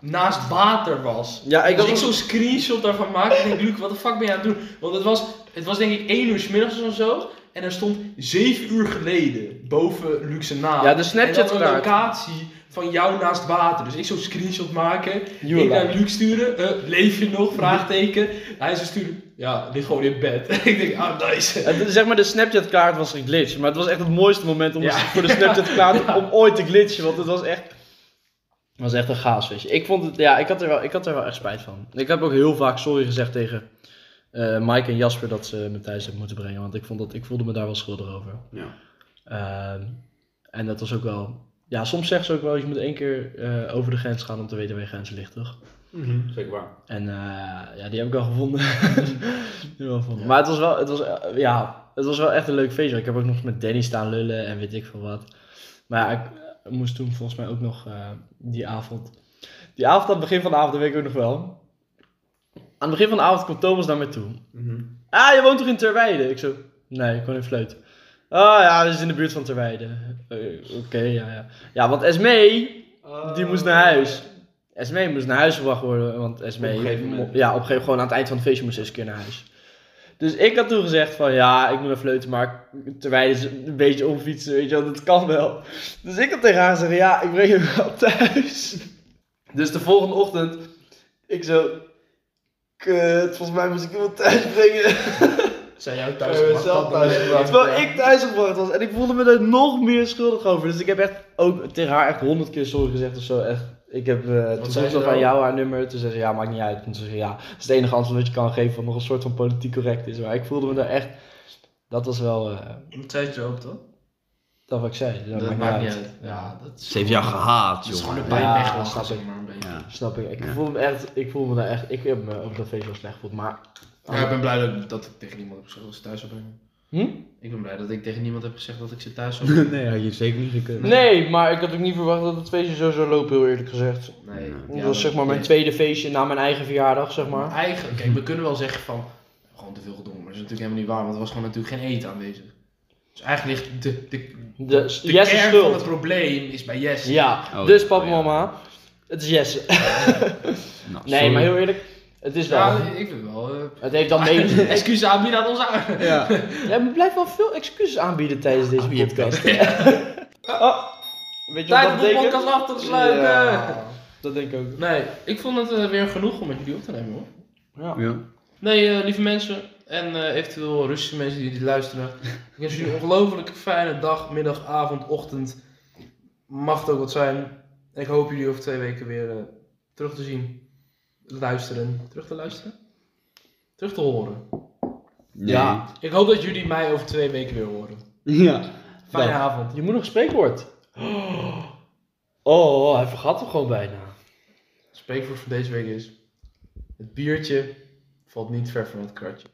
naast water was. Ja, Dus ik Als was ik ook zo'n screenshot daarvan maak, ik denk Luc, wat de fuck ben je aan het doen? Want het was, het was denk ik 1 uur 's middags of zo. En er stond 7 uur geleden boven Luc zijn naam. Ja, de en dan een Snapchat-kaart. locatie van jou naast water. Dus ik zo'n screenshot maken. You ik alive. naar Luc sturen. eh, leef je nog? Vraagteken. Hij zou sturen. Ja, ligt gewoon in bed. ik denk, ah, nice. Het- zeg maar, de Snapchat-kaart was een glitch. Maar het was echt het mooiste moment om dus Ja. voor de Snapchat-kaart om ooit te glitchen. Want het was echt. Het was echt een gaas, weet je. Ik vond het. Ja, ik had, er wel, ik had er wel echt spijt van. Ik heb ook heel vaak sorry gezegd tegen eh, Mike en Jasper dat ze me thuis hebben moeten brengen. Want ik, vond dat, ik voelde me daar wel schuldig over. Ja. Ehm, en dat was ook wel. Ja, soms zeggen ze ook wel, je moet één keer eh, over de grens gaan om te weten waar je grens ligt, toch? Zeker waar. En eh, ja, die heb ik wel gevonden. Die wel gevonden. Maar het was wel, het was, eh, ja, het was wel echt een leuk feestje. Ik heb ook nog met Danny staan lullen en weet ik veel wat. Maar ja, ik eh, moest toen volgens mij ook nog eh, die avond. Die avond aan het begin van de avond, dat weet ik ook nog wel. Aan het begin van de avond kwam Thomas naar me toe. Mhm. Ah, je woont toch in Terweide? Ik zo, nee, ik woon in Vleut. Ah ja, dat is in de buurt van Terweide. Eh, Oké, ja, ja. Ja, want Esmee, die moest naar huis. Esmee moest naar huis gebracht worden, want Esmee... Oh. Op een gegeven moment. mo- Ja, op een gegeven moment, gewoon aan het eind van het feestje moest ze eens een keer naar huis. Dus ik had toen gezegd van, ja, ik moet naar Vleuten, maar Terwijl is een beetje omfietsen, weet je wel, dat kan wel. Dus ik had tegen haar gezegd, ja, ik breng je wel thuis. Dus de volgende ochtend, ik zo... Kut, volgens mij moest ik iemand thuis brengen. Zijn jou We thuis hebben gebracht? zelf Dat thuis dan- gebracht. Terwijl ik thuisgebracht was en ik voelde me er nog meer schuldig over. Dus ik heb echt ook tegen haar echt honderd keer sorry gezegd of zo. Echt. Ik heb eh toen zei vroeg ze ze van dan? jou haar nummer. Toen zei ze ja, maakt niet uit. Toen zei ze ja, dat is het enige antwoord dat je kan geven wat nog een soort van politiek correct is. Maar ik voelde me daar echt, dat was wel, eh, Dat zei ze ook, toch? Dat wat ik zei. Dat, maakt niet uit. Ja, dat is Ze heeft jou gehaat, Het is joh. gewoon een Ja, pijn snap weglachen, ik. zeg maar een beetje. Ja. Snap ik. Ik Ja. voel me echt, ik voel me daar echt, ik heb me op dat feest wel slecht gevoeld, maar... Ja, ik ben blij dat, dat ik tegen niemand heb gezegd dat ze thuis zou brengen. Hm? Ik ben blij dat ik tegen niemand heb gezegd dat ik ze thuis zou brengen. nee, had je zeker niet gekund. Nee, maar ik had ook niet verwacht dat het feestje zo zou lopen, heel eerlijk gezegd. Nee. Ja, dat was zeg maar mijn tweede feestje na mijn eigen verjaardag, zeg maar. Eigenlijk, kijk, we kunnen wel zeggen van, gewoon te veel gedronken, maar dat is natuurlijk helemaal niet waar, want er was gewoon natuurlijk geen eten aanwezig. Dus eigenlijk ligt de, de, De, de Jesse kern van schuld. het probleem is bij Jesse. Ja, Oh, dus ja, papa oh, ja. mama, het is Jesse. Nou, Nee, sorry. maar heel eerlijk, het is wel... Ja, ik vind wel. eh, Het heeft dan mee... excuses aanbieden aan ons aan. Ja. Ja, we blijven wel veel excuses aanbieden tijdens deze je podcast. Oh, weet je Tijd wat om dat de betekent? podcast af te sluiten. Ja, dat denk ik ook. Nee, ik vond het eh, weer genoeg om met jullie op te nemen hoor. Ja. Ja. Nee, eh, lieve mensen en eh, eventueel Russische mensen die dit luisteren. Ik wens jullie een ongelooflijk fijne dag, middag, avond, ochtend. Mag het ook wat zijn. En ik hoop jullie over twee weken weer eh, terug te zien. Luisteren. Terug te luisteren? Terug te horen. Nee. Ja. Ik hoop dat jullie mij over twee weken weer horen. Ja. Fijne Dag. avond. Je moet nog een spreekwoord. Oh, hij vergat hem gewoon bijna. Het spreekwoord van deze week is: Het biertje valt niet ver van het kratje.